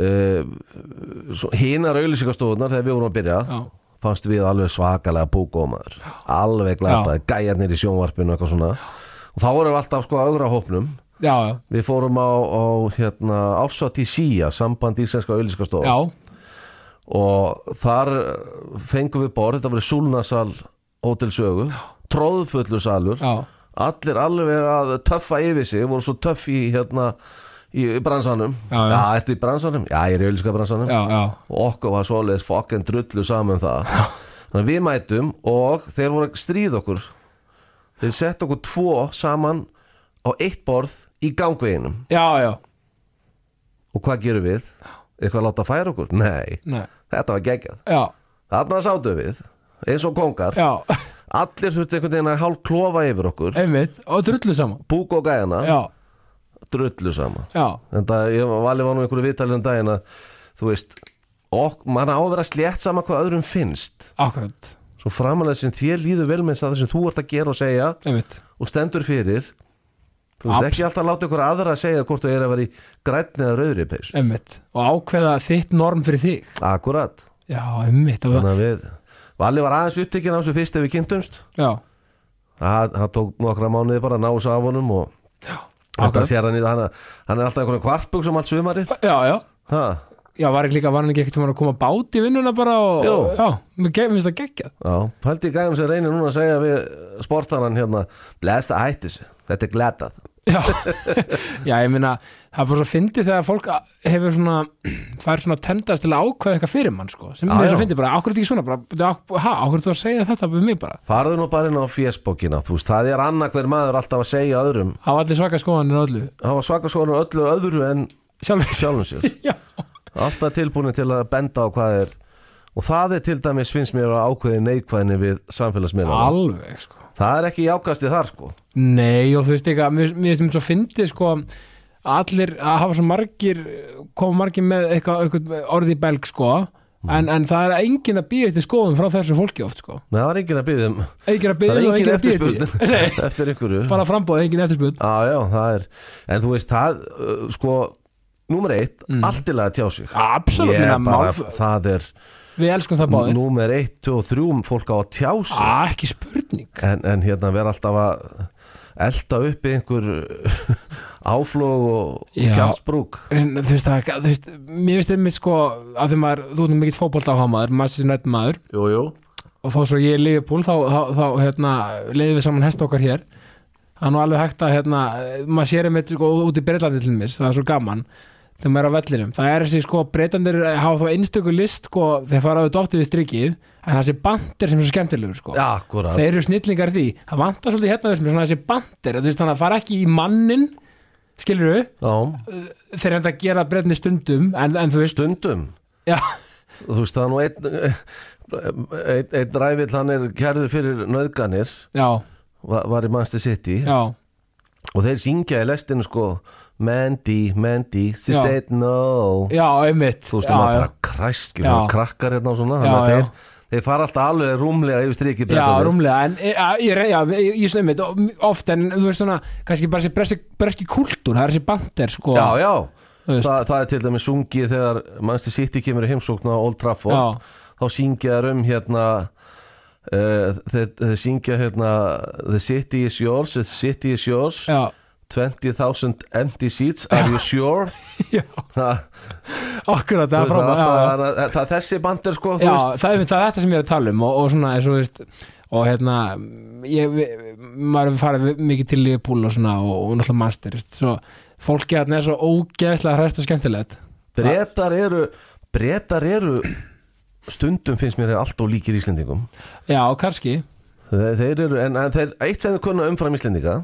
[SPEAKER 2] uh, hinar auðlýsingastofunar þegar við vorum að byrja,
[SPEAKER 1] já,
[SPEAKER 2] fannst við alveg svakalega búgómaður, alveg glæpaði, gæjarnir í sjónvarpinu og eitthvað svona og þá vorum við alltaf sko augra hópnum
[SPEAKER 1] já,
[SPEAKER 2] við fórum á, á hérna, ásat í SÍA, samband íslenska auðlýsingastofu
[SPEAKER 1] já,
[SPEAKER 2] og þar eh, fengum við borð, þetta var í Súlnasal hótelsögu, tróðfullu salur
[SPEAKER 1] já,
[SPEAKER 2] allir alveg að töffa yfir sig voru svo töff í hérna í bransanum,
[SPEAKER 1] Já, já.
[SPEAKER 2] ertu í bransanum já, ég er í auðlíska bransanum
[SPEAKER 1] já, já,
[SPEAKER 2] og okkur var svoleiðis fokken drullu saman um það þannig að við mætum og þeir voru að stríða okkur þeir sett okkur tvo saman á eitt borð í gangveginum
[SPEAKER 1] já, já,
[SPEAKER 2] og hvað gerum við? eitthvað að láta færa okkur? Nei,
[SPEAKER 1] nei,
[SPEAKER 2] þetta var geggjað
[SPEAKER 1] já,
[SPEAKER 2] þarna sátum við, eins og kongar
[SPEAKER 1] já,
[SPEAKER 2] allir þurfti einhvern veginn að hálf klofa yfir okkur
[SPEAKER 1] einmitt, og drullu saman.
[SPEAKER 2] búk og gæjana,
[SPEAKER 1] Já,
[SPEAKER 2] drullu saman
[SPEAKER 1] já,
[SPEAKER 2] en það, ég vali var nú einhverju viðtalið um daginn að þú veist, ok, mann á að vera slétt sama hvað öðrum finnst
[SPEAKER 1] akkurat,
[SPEAKER 2] svo framalega sem þér líður vel með það sem þú ert að gera og segja
[SPEAKER 1] einmitt.
[SPEAKER 2] og stendur fyrir þú veist,
[SPEAKER 1] Abs-
[SPEAKER 2] ekki alltaf láta ykkur aðra að segja hvort þú er að vera í grænni eða rauðri peys
[SPEAKER 1] Einmitt, og ákveða þitt norm fyrir þig.
[SPEAKER 2] akkurat,
[SPEAKER 1] Já, einmitt, og það,
[SPEAKER 2] þannig að við Valli var aðeins upptekinn á þessu fyrst ef við kynntumst
[SPEAKER 1] já,
[SPEAKER 2] það það tók nokkra mánuði bara að ná þessu af honum og
[SPEAKER 1] akkurat.
[SPEAKER 2] okay. hann, í- hann, hann er alltaf einhvern kvartbuksum allt sumarið
[SPEAKER 1] já, já.
[SPEAKER 2] ha,
[SPEAKER 1] Já, var ekki líka, var hann ekki ekkert sem að koma bát í vinnuna bara og,
[SPEAKER 2] Jú.
[SPEAKER 1] já, mér ge- mér finnst það geggjað.
[SPEAKER 2] já, hældi í gæðum sem reynir núna að segja við sportarann hérna blessa hættis, þetta er glatað
[SPEAKER 1] Já, já ég meina það er bara svo fyndið þegar fólk hefur svona, það er svona tendast til að ákveða eitthvað fyrir mann sko, sem
[SPEAKER 2] Já,
[SPEAKER 1] mér er
[SPEAKER 2] já.
[SPEAKER 1] svo fyndið bara, ákveður þetta ekki svona, bara, ha, ákveður þú að segja þetta við mig bara,
[SPEAKER 2] farðu nú bara inn á fésbókina þú veist, það er annak hver maður alltaf að segja öðrum
[SPEAKER 1] hafa allir svaka skoðanir á öllu,
[SPEAKER 2] hafa svaka skoðan á öllu öðru en
[SPEAKER 1] sjálfur
[SPEAKER 2] sjálfum sér
[SPEAKER 1] Já.
[SPEAKER 2] alltaf tilbúin til að benda á hvað er og það er til dæmis finnst mér að ákveði neikvæðinni við samfélagsmiðlana
[SPEAKER 1] alveg sko,
[SPEAKER 2] það er ekki jákastið þar sko
[SPEAKER 1] nei og þú veist ekki að mér mér finnst mér svo fyndið sko að allir, að hafa svo margir koma margir með eitthvað, eitthvað orði í belg sko,
[SPEAKER 2] Mm.
[SPEAKER 1] en, en það er engin að býja eftir skoðum frá þessu fólki oft sko,
[SPEAKER 2] Nei, það er enginn að byggja um
[SPEAKER 1] engin að
[SPEAKER 2] það
[SPEAKER 1] býja
[SPEAKER 2] er
[SPEAKER 1] og engin
[SPEAKER 2] enginn
[SPEAKER 1] að býja eftir
[SPEAKER 2] eftirspurn
[SPEAKER 1] Nei,
[SPEAKER 2] eftir ykkurju
[SPEAKER 1] bara frambóð, engin eftirspurn
[SPEAKER 2] á, já, það er, en þú veist það uh, sko, númer eitt
[SPEAKER 1] Mm.
[SPEAKER 2] allt til að tjá sig
[SPEAKER 1] Absolutt,
[SPEAKER 2] Ég
[SPEAKER 1] yeah,
[SPEAKER 2] bara,
[SPEAKER 1] mál,
[SPEAKER 2] það er
[SPEAKER 1] við elskum það báðir
[SPEAKER 2] númer eitt, tvö og þrjú um fólk á að tjá sig
[SPEAKER 1] ah, ekki spurning
[SPEAKER 2] en, en hérna vera alltaf að elda uppi einhver áflóg og
[SPEAKER 1] Já.
[SPEAKER 2] kjálsbrúk
[SPEAKER 1] En þú veist, það, þú veist, mér veist einmitt sko að því maður, þú erum mikill fótbolt á hamaður maður sér nætt maður
[SPEAKER 2] Jú, jú
[SPEAKER 1] og þá svo ég er liðupúl þá, þá, þá hérna, leiðum við saman hest okkar hér það er nú alveg hægt að hérna, maður sér einmitt sko, út í breytlandi til mér það er svo gaman þegar maður er á vellinum það er þessi sko breytandir hafa þá einstöku list sko, þeir fara auðvitað oft við strikið en þessi bandir sem er svo skemmtilegur sko
[SPEAKER 2] Akkurat
[SPEAKER 1] þeir eru snillingar í því það vantar svolítið hérna þessum svona þessi bandir þú veist þannig að fara ekki í mannin skilur þau,
[SPEAKER 2] Já,
[SPEAKER 1] þeir enda að gera breytni stundum en, en þú veist
[SPEAKER 2] stundum
[SPEAKER 1] já,
[SPEAKER 2] Þú veist það er nú einn einn ein ræfill hann er kærður fyrir nöðganir
[SPEAKER 1] já,
[SPEAKER 2] var, var í Manchester City
[SPEAKER 1] já,
[SPEAKER 2] og þeir syngja í lestinu sko Mandy, Mandy, she
[SPEAKER 1] Já.
[SPEAKER 2] said no
[SPEAKER 1] já, einmitt
[SPEAKER 2] þú veist,
[SPEAKER 1] já,
[SPEAKER 2] það er
[SPEAKER 1] já.
[SPEAKER 2] bara kræst skilur,
[SPEAKER 1] Já.
[SPEAKER 2] og krakkar hérna og svona
[SPEAKER 1] Já,
[SPEAKER 2] þannig að
[SPEAKER 1] já.
[SPEAKER 2] þeir, þeir fara alltaf alveg rúmlega yfir striki
[SPEAKER 1] Já,
[SPEAKER 2] brettarnir.
[SPEAKER 1] rúmlega, en e, a- ég, re- já, ég, ég snömmit oft, en þú veist svona kannski bara þessi breski, breski kultúr, það er þessi bandir sko,
[SPEAKER 2] já, já.
[SPEAKER 1] þú veist,
[SPEAKER 2] Þa, það er til dæmis sungið þegar Manchester City kemur í heimsókn á Old Trafford
[SPEAKER 1] Já.
[SPEAKER 2] þá syngja þær um hérna uh, þeir, þeir syngja hérna The City is yours, the City is yours
[SPEAKER 1] já,
[SPEAKER 2] 20,000 empty seats, are you sure?
[SPEAKER 1] já
[SPEAKER 2] Það,
[SPEAKER 1] okkur
[SPEAKER 2] þú
[SPEAKER 1] það er
[SPEAKER 2] veist, það, er
[SPEAKER 1] frábæð, já,
[SPEAKER 2] alltaf,
[SPEAKER 1] já
[SPEAKER 2] það, er- það, er þessi bandir sko, þú
[SPEAKER 1] Já,
[SPEAKER 2] veist
[SPEAKER 1] það, er einmitt- það er þetta sem ég er að tala um og, og svona, eins og þú veist og hérna, ég, við- maður hefur farið mikið til Liverpool og svona og, og náttúrulega master, veist, svo fólki hérna er svo ógeðslega hræst og skemmtilegt
[SPEAKER 2] Bretar eru Bretar eru stundum finnst mér er alltof líkir Íslendingum
[SPEAKER 1] Já, kannski,
[SPEAKER 2] þeir, þeir eru, en, en þeir, eitt sem þeir kunna umfram Íslendinga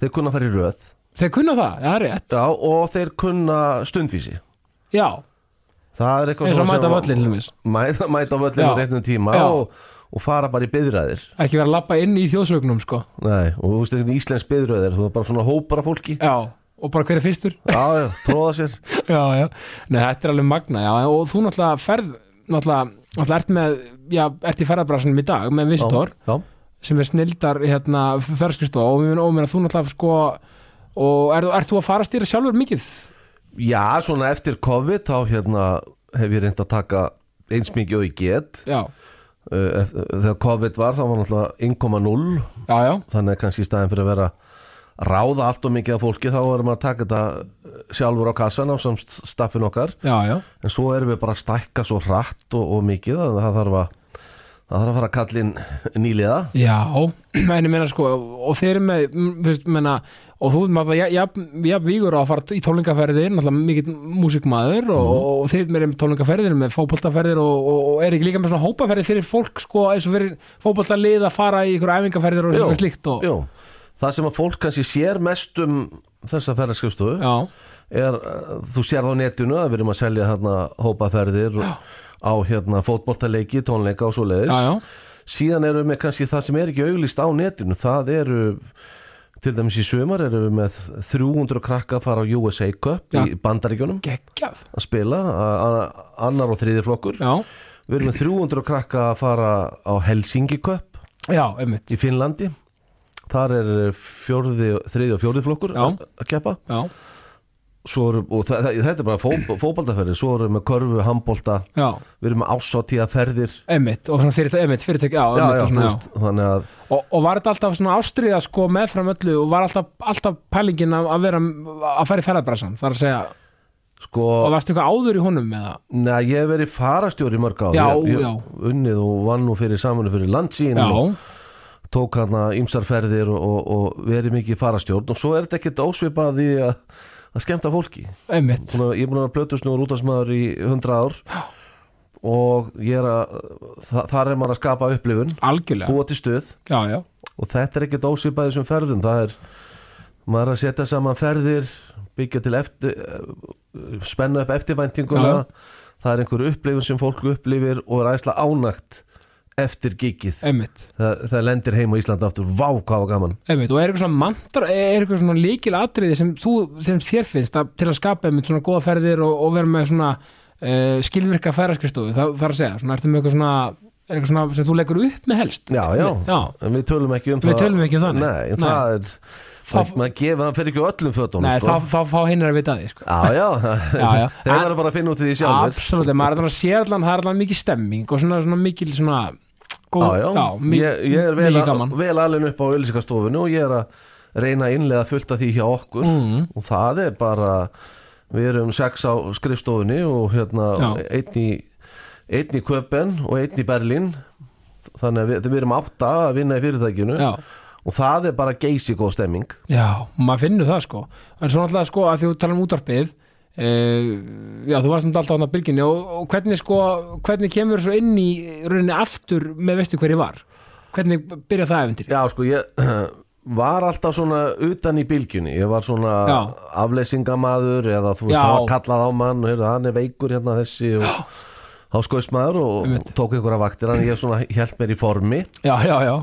[SPEAKER 2] þeir kunna fara í röð
[SPEAKER 1] þeir kunna það, já, það er rétt
[SPEAKER 2] já, og þeir kunna stundvísi
[SPEAKER 1] Já,
[SPEAKER 2] það er eitthvað
[SPEAKER 1] eins og
[SPEAKER 2] svona
[SPEAKER 1] mæta
[SPEAKER 2] sem-
[SPEAKER 1] völlin til dæmis,
[SPEAKER 2] mæta, mæta völlin
[SPEAKER 1] Já.
[SPEAKER 2] á réttum tíma
[SPEAKER 1] Já.
[SPEAKER 2] og, og fara bara í byðræðir
[SPEAKER 1] ekki vera að labba inn í þjóðsögnum sko,
[SPEAKER 2] Nei, og þú veist ekki íslensk byðræðir þú er bara svona hópar af fólki
[SPEAKER 1] já, og bara hver er fyrstur
[SPEAKER 2] já, já, tróða sér
[SPEAKER 1] já, já. Nei, þetta er alveg magna já. og þú náttúrulega ferð náttúrulega, náttúrulega ert með já, ert í ferðabrasunum í dag með Vistor
[SPEAKER 2] já,
[SPEAKER 1] sem er snildar hérna ferðskristofa og mér og mér að þú náttúrulega sko og er, ert þú að fara að stýra sjálfur mikið
[SPEAKER 2] já, svona eftir COVID þá hérna hef ég reynd að taka eins mikið og ég get
[SPEAKER 1] já,
[SPEAKER 2] Uh, ef- þegar COVID var þá var náttúrulega innkoma 0
[SPEAKER 1] já, já,
[SPEAKER 2] þannig að kannski í staðin fyrir að vera að ráða allt og mikið af fólki þá erum við að taka þetta uh, sjálfur á kassan á samt staffin okkar
[SPEAKER 1] já, já,
[SPEAKER 2] en svo erum við bara að stækka svo hratt og, og mikið að það þarf að það þarf að fara að kalla inn nýliða
[SPEAKER 1] já en ég meina sko, og þeir eru með mm, þú veist, meina, og þú maður já, já, já, vígur á að fara í tólingaferðir náttúrulega mikið músikmaður og,
[SPEAKER 2] Mhm.
[SPEAKER 1] og, og þeir eru með tólingaferðir, með fótboltaferðir og, og, og er ekki líka með svona hópaferðir fyrir fólk sko, eins og fyrir fótboltalið að fara í ykkur æfingaferðir og svona slíkt og,
[SPEAKER 2] Jú. það sem að fólk kannski sér mest um þessa ferðarskjöfstofu
[SPEAKER 1] já,
[SPEAKER 2] er, uh, þú sér það á netinu að við erum að selja hérna hópaferðir og- á hérna fótboltaleiki, tónleika og svo leiðis
[SPEAKER 1] já, já,
[SPEAKER 2] síðan erum við með kannski það sem er ekki auglist á netinu, það eru til dæmis í sumar erum við með 300 krakka að fara á USA Cup
[SPEAKER 1] Já.
[SPEAKER 2] í bandaríkjunum
[SPEAKER 1] geggjað
[SPEAKER 2] að spila, a- a- annar og þriði flokkur
[SPEAKER 1] já,
[SPEAKER 2] við erum með 300 krakka að fara á Helsingi Cup
[SPEAKER 1] já, einmitt
[SPEAKER 2] í Finnlandi þar er fjórði, þriði og fjórði flokkur
[SPEAKER 1] Já.
[SPEAKER 2] að að keppa
[SPEAKER 1] já,
[SPEAKER 2] Svo eru, og það, það- þetta er bara fó, fótboltaferðir svo erum við með körfu, handbolta
[SPEAKER 1] já,
[SPEAKER 2] við erum með ásáttíðaferðir
[SPEAKER 1] einmitt og svona fyrirtæk, einmitt, fyrirtæk, já,
[SPEAKER 2] já,
[SPEAKER 1] einmitt og
[SPEAKER 2] já, þú
[SPEAKER 1] svona, já.
[SPEAKER 2] veist, þannig að
[SPEAKER 1] Og, og var þetta alltaf svona ástriða sko meðfram öllu og var alltaf, alltaf pælingin að að vera að fara í ferðabræsan, þar að segja
[SPEAKER 2] sko,
[SPEAKER 1] og varstu eitthvað áður í honum með það
[SPEAKER 2] Nei, ég hef verið farastjóri í mörg á
[SPEAKER 1] Já,
[SPEAKER 2] ég, ég
[SPEAKER 1] já.
[SPEAKER 2] Unnið og vann nú fyrir saminu fyrir landsín og
[SPEAKER 1] já,
[SPEAKER 2] tók hana ymsarferðir og, og, og verið mikið farastjórn og svo er þetta ekkert ósvipað því að, að skemmta fólki
[SPEAKER 1] einmitt
[SPEAKER 2] Búna, Ég er búin að plötu snúður útastmaður í 100 ár já. og ég er að þa þar er maður að skapa upplifun
[SPEAKER 1] algjörlega,
[SPEAKER 2] búa til stuð
[SPEAKER 1] já, já,
[SPEAKER 2] og þetta er ekkert ósvipað þessum ferðum það er, maður er að setja saman ferðir byggja til eftir eh, spenna upp eftirvæntinguna
[SPEAKER 1] Já.
[SPEAKER 2] það er einhver upplifun sem fólk upplifir og er æsla ánagt eftir gigið
[SPEAKER 1] einmitt
[SPEAKER 2] það, það lendir heim á Íslandi aftur, vá hvað var gaman
[SPEAKER 1] einmitt, og er eitthvað svona mantra, er eitthvað svona líkil atriði sem, þú, sem þér finnst að, til að skapa einmitt svona góða ferðir og, og vera með svona uh, skilvirka ferðarskristofu, það þarf að segja svona, ertu með eitthvað svona, er eitthvað svona sem þú leggur upp með helst
[SPEAKER 2] já, já,
[SPEAKER 1] já,
[SPEAKER 2] en við tölum ekki um
[SPEAKER 1] Við
[SPEAKER 2] það
[SPEAKER 1] tölum ekki um það, nei.
[SPEAKER 2] nei, en
[SPEAKER 1] Nei.
[SPEAKER 2] það er
[SPEAKER 1] Þá-
[SPEAKER 2] maður gefa, hann fyrir ekki öllum fötunum
[SPEAKER 1] nei,
[SPEAKER 2] sko.
[SPEAKER 1] þá, þá fá hinn að vita af því sko.
[SPEAKER 2] já, já,
[SPEAKER 1] Já, já.
[SPEAKER 2] þeir verður bara að finna út í því sjálfur
[SPEAKER 1] Absolutt, maður er þannig að sé allan það er allan mikið stemming og svona, svona mikil svona góð,
[SPEAKER 2] Já, já,
[SPEAKER 1] mi-
[SPEAKER 2] ég, ég er vel,
[SPEAKER 1] mikið
[SPEAKER 2] að,
[SPEAKER 1] gaman
[SPEAKER 2] vel alveg upp á auðlýsingastofinu og ég er að reyna að innlega fullt af því hjá okkur
[SPEAKER 1] mm,
[SPEAKER 2] og það er bara við erum sex á skrifstofunni og hérna
[SPEAKER 1] Já.
[SPEAKER 2] einn í, einn í Köpen og einn í Berlín þannig að við, við erum átta að vinna í fyrirtækinu
[SPEAKER 1] Já,
[SPEAKER 2] og það er bara geysi góð stemming
[SPEAKER 1] já, maður finnur það sko en svo náttúrulega sko að því þú tala um útvarpið Uh, já, þú varst um alltaf hann að bylginni og, og hvernig sko, hvernig kemur svo inn í rauninni aftur með veistu hverju var hvernig byrja það eventir
[SPEAKER 2] Já sko ég var alltaf svona utan í bylgjunni ég var svona
[SPEAKER 1] Já.
[SPEAKER 2] afleysingamaður eða þú veist
[SPEAKER 1] Já.
[SPEAKER 2] það var kallað á mann og heyrðu, hann er veikur hérna þessi og þá skoðist maður og
[SPEAKER 1] Einmitt.
[SPEAKER 2] tók einhverja vaktir en ég svona held mér í formi
[SPEAKER 1] já, já, já,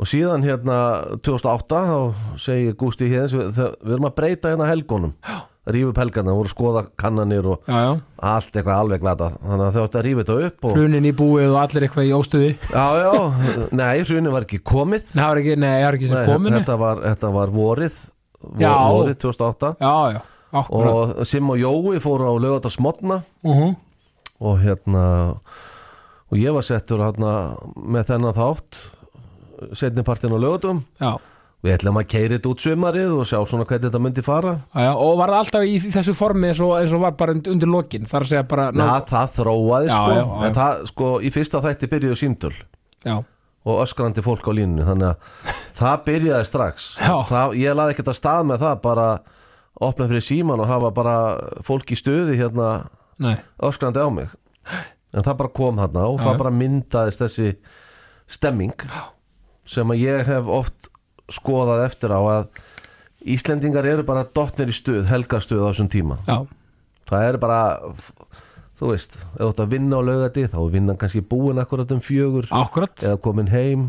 [SPEAKER 2] og síðan hérna 2008 þá segir Gústi Híðins við, þau- við erum að breyta hérna helgunum rífa upp helgarna, voru að skoða kannanir og
[SPEAKER 1] já, já,
[SPEAKER 2] allt eitthvað alveg glata þannig að þau átti að rífa þetta upp og,
[SPEAKER 1] hrunin í búið og allir eitthvað í óstuði
[SPEAKER 2] já, já, nei, hrunið var ekki komið
[SPEAKER 1] Nei, það var ekki, nei, það var ekki
[SPEAKER 2] nei,
[SPEAKER 1] sem kominu
[SPEAKER 2] þetta, var, þetta var vorið vor,
[SPEAKER 1] Já.
[SPEAKER 2] vorið 2008
[SPEAKER 1] Já, já, akkurat
[SPEAKER 2] og Sim og Jói fóru á lögat að smotna
[SPEAKER 1] uh -huh.
[SPEAKER 2] og hérna og ég var settur hérna með þennan þátt setni partinn á lögatum
[SPEAKER 1] já,
[SPEAKER 2] við ætlum að keiri þetta út sumarið og sjá svona hvernig þetta myndi fara
[SPEAKER 1] já, já, og var það alltaf í þessu formi eins og, eins og var bara und- undir lokin þar að segja bara
[SPEAKER 2] Ná, það þróaði
[SPEAKER 1] Já,
[SPEAKER 2] sko
[SPEAKER 1] já, já.
[SPEAKER 2] en það sko í fyrsta þætti byrjuðu símtöl
[SPEAKER 1] já,
[SPEAKER 2] og öskrandi fólk á línunni þannig að það byrjaði strax
[SPEAKER 1] Já.
[SPEAKER 2] það, ég laði ekkert að stað með það bara opna fyrir síman og hafa bara fólk í stöði hérna
[SPEAKER 1] nei,
[SPEAKER 2] öskrandi á mig en það bara kom hérna og
[SPEAKER 1] Já, já.
[SPEAKER 2] það bara myndaðist þessi stemming sem að ég hef oft skoðað eftir á að Íslendingar eru bara dottnir í stuð, helgastuð á þessum tíma
[SPEAKER 1] já,
[SPEAKER 2] það er bara þú veist, ef þú ert að vinna á laugati þá er vinnan kannski búin akkurat um fjögur
[SPEAKER 1] akkurat
[SPEAKER 2] eða komin heim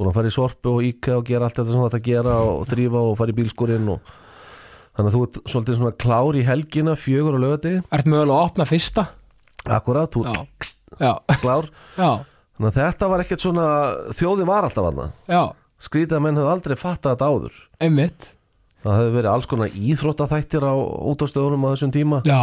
[SPEAKER 2] búin að fara í sorpu og íka og gera allt þetta sem þetta að gera og drífa og fara í bílskurinn og þannig að þú ert svolítið svona klár í helgina fjögur á laugati,
[SPEAKER 1] Ert mögulega að opna fyrsta
[SPEAKER 2] akkurat þú
[SPEAKER 1] Já,
[SPEAKER 2] ert
[SPEAKER 1] já,
[SPEAKER 2] klár,
[SPEAKER 1] já,
[SPEAKER 2] þannig að þetta var ekkert svona þjóðin var alltaf aðna
[SPEAKER 1] já,
[SPEAKER 2] skrítið að menn hefði aldrei fattað þetta áður
[SPEAKER 1] einmitt
[SPEAKER 2] það hefði verið alls konar íþróttaþættir á útastöðunum á þessum tíma
[SPEAKER 1] Já,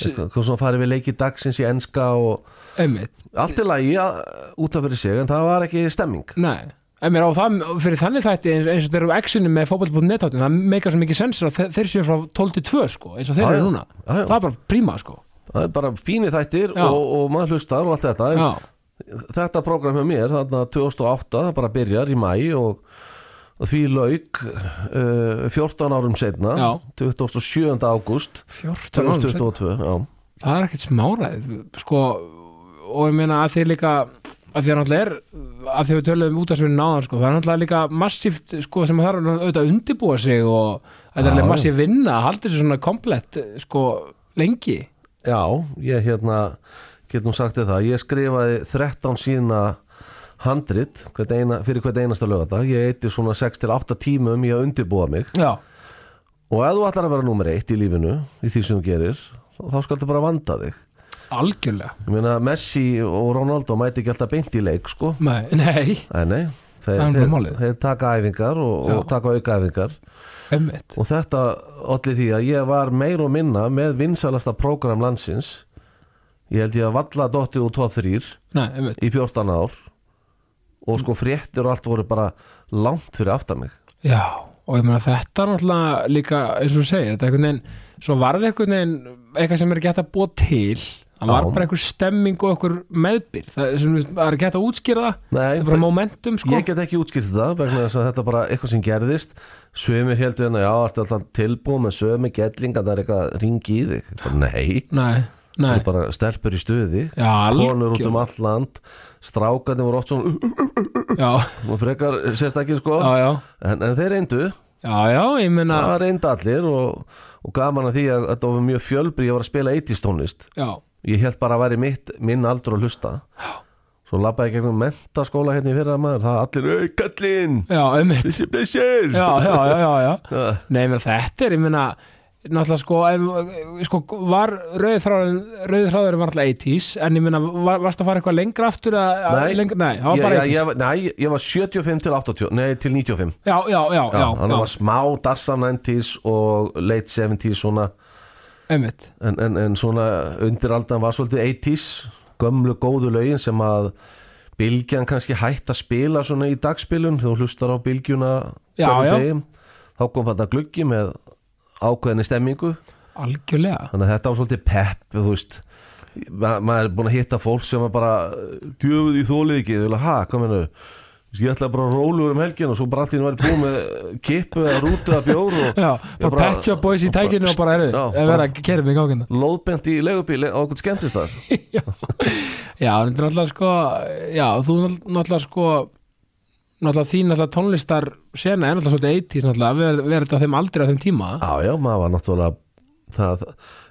[SPEAKER 2] eitthvað svona farið við leiki dagsins í enska og
[SPEAKER 1] einmitt
[SPEAKER 2] Allt í lagi að- út af fyrir sig en það var ekki stemming
[SPEAKER 1] Nei, en mér á það fyrir þannig þætti eins, eins og þeir eru exinu með fótball.net-háttinn, það meikar svo mikið sensir að þe- þeir séu frá 12 til 2 sko, eins og þeir
[SPEAKER 2] Já, já.
[SPEAKER 1] eru núna
[SPEAKER 2] Já, já.
[SPEAKER 1] það er bara príma sko
[SPEAKER 2] Það er bara fínir þættir
[SPEAKER 1] Já.
[SPEAKER 2] og, og maður hlustar og allt þetta en
[SPEAKER 1] Já,
[SPEAKER 2] Þetta program hjá mér, þarna 2008 það bara byrjar í mæ og, og því lauk uh, 14 árum setna
[SPEAKER 1] Já.
[SPEAKER 2] 27. ágúst
[SPEAKER 1] 14 árum seinna.
[SPEAKER 2] 2022 já.
[SPEAKER 1] það er ekkert smáræð sko, og ég meina að þið líka að því að náttúrulega er að því að við töluðum út af svinni náðan sko, það er náttúrulega líka massíft sko, sem þarf auðvitað að undibúa sig og þetta er
[SPEAKER 2] Já,
[SPEAKER 1] alveg
[SPEAKER 2] já.
[SPEAKER 1] massíf vinna að halda þessu svona komplett sko, lengi
[SPEAKER 2] já, ég hérna get nú sagt þér það, ég skrifaði 13 sína handrit hvert eina, fyrir hvert einasta lögadag ég eitti svona 6-8 tímum í að undirbúa mig
[SPEAKER 1] já,
[SPEAKER 2] Og ef þú ætlar að vera númer eitt í lífinu í því sem þú gerir, þá skaltu bara vanda þig.
[SPEAKER 1] algjörlega
[SPEAKER 2] Ég meina Messi og Ronaldo mæti ekki alltaf beint í leik, sko.
[SPEAKER 1] nei, nei,
[SPEAKER 2] Nei, nei, þeir,
[SPEAKER 1] Það er bara
[SPEAKER 2] þeir,
[SPEAKER 1] málið.
[SPEAKER 2] þeir taka æfingar og, og
[SPEAKER 1] Já.
[SPEAKER 2] taka aukaæfingar.
[SPEAKER 1] einmitt
[SPEAKER 2] Og þetta olli því að ég var meir og minna með vinsalasta prógram landsins. Ég held ég að valla dottið úr top 3
[SPEAKER 1] nei, einmitt,
[SPEAKER 2] í 14 ár og sko fréttir og allt voru bara langt fyrir aftan mig.
[SPEAKER 1] já og ég meina þetta er náttúrulega líka eins og þú segir, þetta er einhvern veginn svo varði einhvern veginn eitthvað sem er gett að búa til það var
[SPEAKER 2] Já.
[SPEAKER 1] bara einhver stemming og einhver meðbyr það er, sem, það er gett að útskýra það
[SPEAKER 2] Nei,
[SPEAKER 1] Það er bara momentum sko
[SPEAKER 2] Ég get ekki útskýrt þetta vegna þess að þetta er bara eitthvað sem gerðist Sumir heldur hérna, já, ertu alltaf tilbúið með sömi gelling að það er eitthvað ringi í þig bara, Nei,
[SPEAKER 1] Nei,
[SPEAKER 2] það
[SPEAKER 1] nei
[SPEAKER 2] er bara stelpur í stuði
[SPEAKER 1] Já,
[SPEAKER 2] Konur út
[SPEAKER 1] algjör-
[SPEAKER 2] um all land Strákarnir voru oft svona uh,
[SPEAKER 1] Já,
[SPEAKER 2] uh, og frekar sést ekki sko
[SPEAKER 1] já, já
[SPEAKER 2] en, en þeir reyndu,
[SPEAKER 1] Já, já, ég meina
[SPEAKER 2] það reyndu allir og, og gaman að því að þetta var mjög fjölbri Ég var að spila 80s tónlist
[SPEAKER 1] Já,
[SPEAKER 2] Ég held bara að væri mitt, minn aldur að hlusta Svo labbaði ég gegnum mentaskóla hérna í fyrra maður, það allir, "Ey, kallinn,
[SPEAKER 1] já, einmitt
[SPEAKER 2] þessi blessir
[SPEAKER 1] Já, já, já, já, já
[SPEAKER 2] Já.
[SPEAKER 1] Nei, menn þetta er, ég meina Náttúrulega sko, ef, sko var rauðþráðurinn rauðþráðurinn var náttúrulega 80s en ég meina, var, varst að fara eitthvað lengra aftur að, að
[SPEAKER 2] Nei.
[SPEAKER 1] lengra, nei, það var
[SPEAKER 2] ég,
[SPEAKER 1] bara 80s
[SPEAKER 2] ég, ég, var- nei, ég var 75 til 80 Nei, til 95
[SPEAKER 1] Já, já, já, já,
[SPEAKER 2] Þannig
[SPEAKER 1] já,
[SPEAKER 2] var smá dassam 90s og late 70s svona
[SPEAKER 1] einmitt
[SPEAKER 2] En, en, en svona undiraldan var svolítið 80s Gömlu góðu lögin sem að Bylgjan kannski hætt að spila svona í dagspilun Þú hlustar á bylgjuna
[SPEAKER 1] Já,
[SPEAKER 2] hverjum
[SPEAKER 1] já.
[SPEAKER 2] degi. Þá kom þetta gluggi með ákveðinni stemmingu
[SPEAKER 1] Algjörlega
[SPEAKER 2] Þannig að þetta var svolítið pepp, þú veist Ma, maður er búin að hitta fólk sem er bara djöfuð í þólið ekki, þú vilja, ha, hvað meinu ég ætla bara að róla úr um helgin og svo bara allt í henni væri búið með kippu eða rútu eða bjór og
[SPEAKER 1] Já,
[SPEAKER 2] Ég
[SPEAKER 1] bara
[SPEAKER 2] bara-
[SPEAKER 1] Pet Shop Boys í
[SPEAKER 2] bara-
[SPEAKER 1] tækinu og bara erðu
[SPEAKER 2] Já,
[SPEAKER 1] eða verða að kerið mig í gákinu
[SPEAKER 2] lóðbent í legubíl á okkur skemmtist það
[SPEAKER 1] Já, en þetta er náttúrulega sko Já, þú náttúrulega- náttúrulega sko Náttúrulega þín náttúrulega tónlistar sena er náttúrulega svolítið 80s náttúrulega ver- verið þetta á þeim aldrei á þeim tíma
[SPEAKER 2] Já, já, maður var náttúrulega það,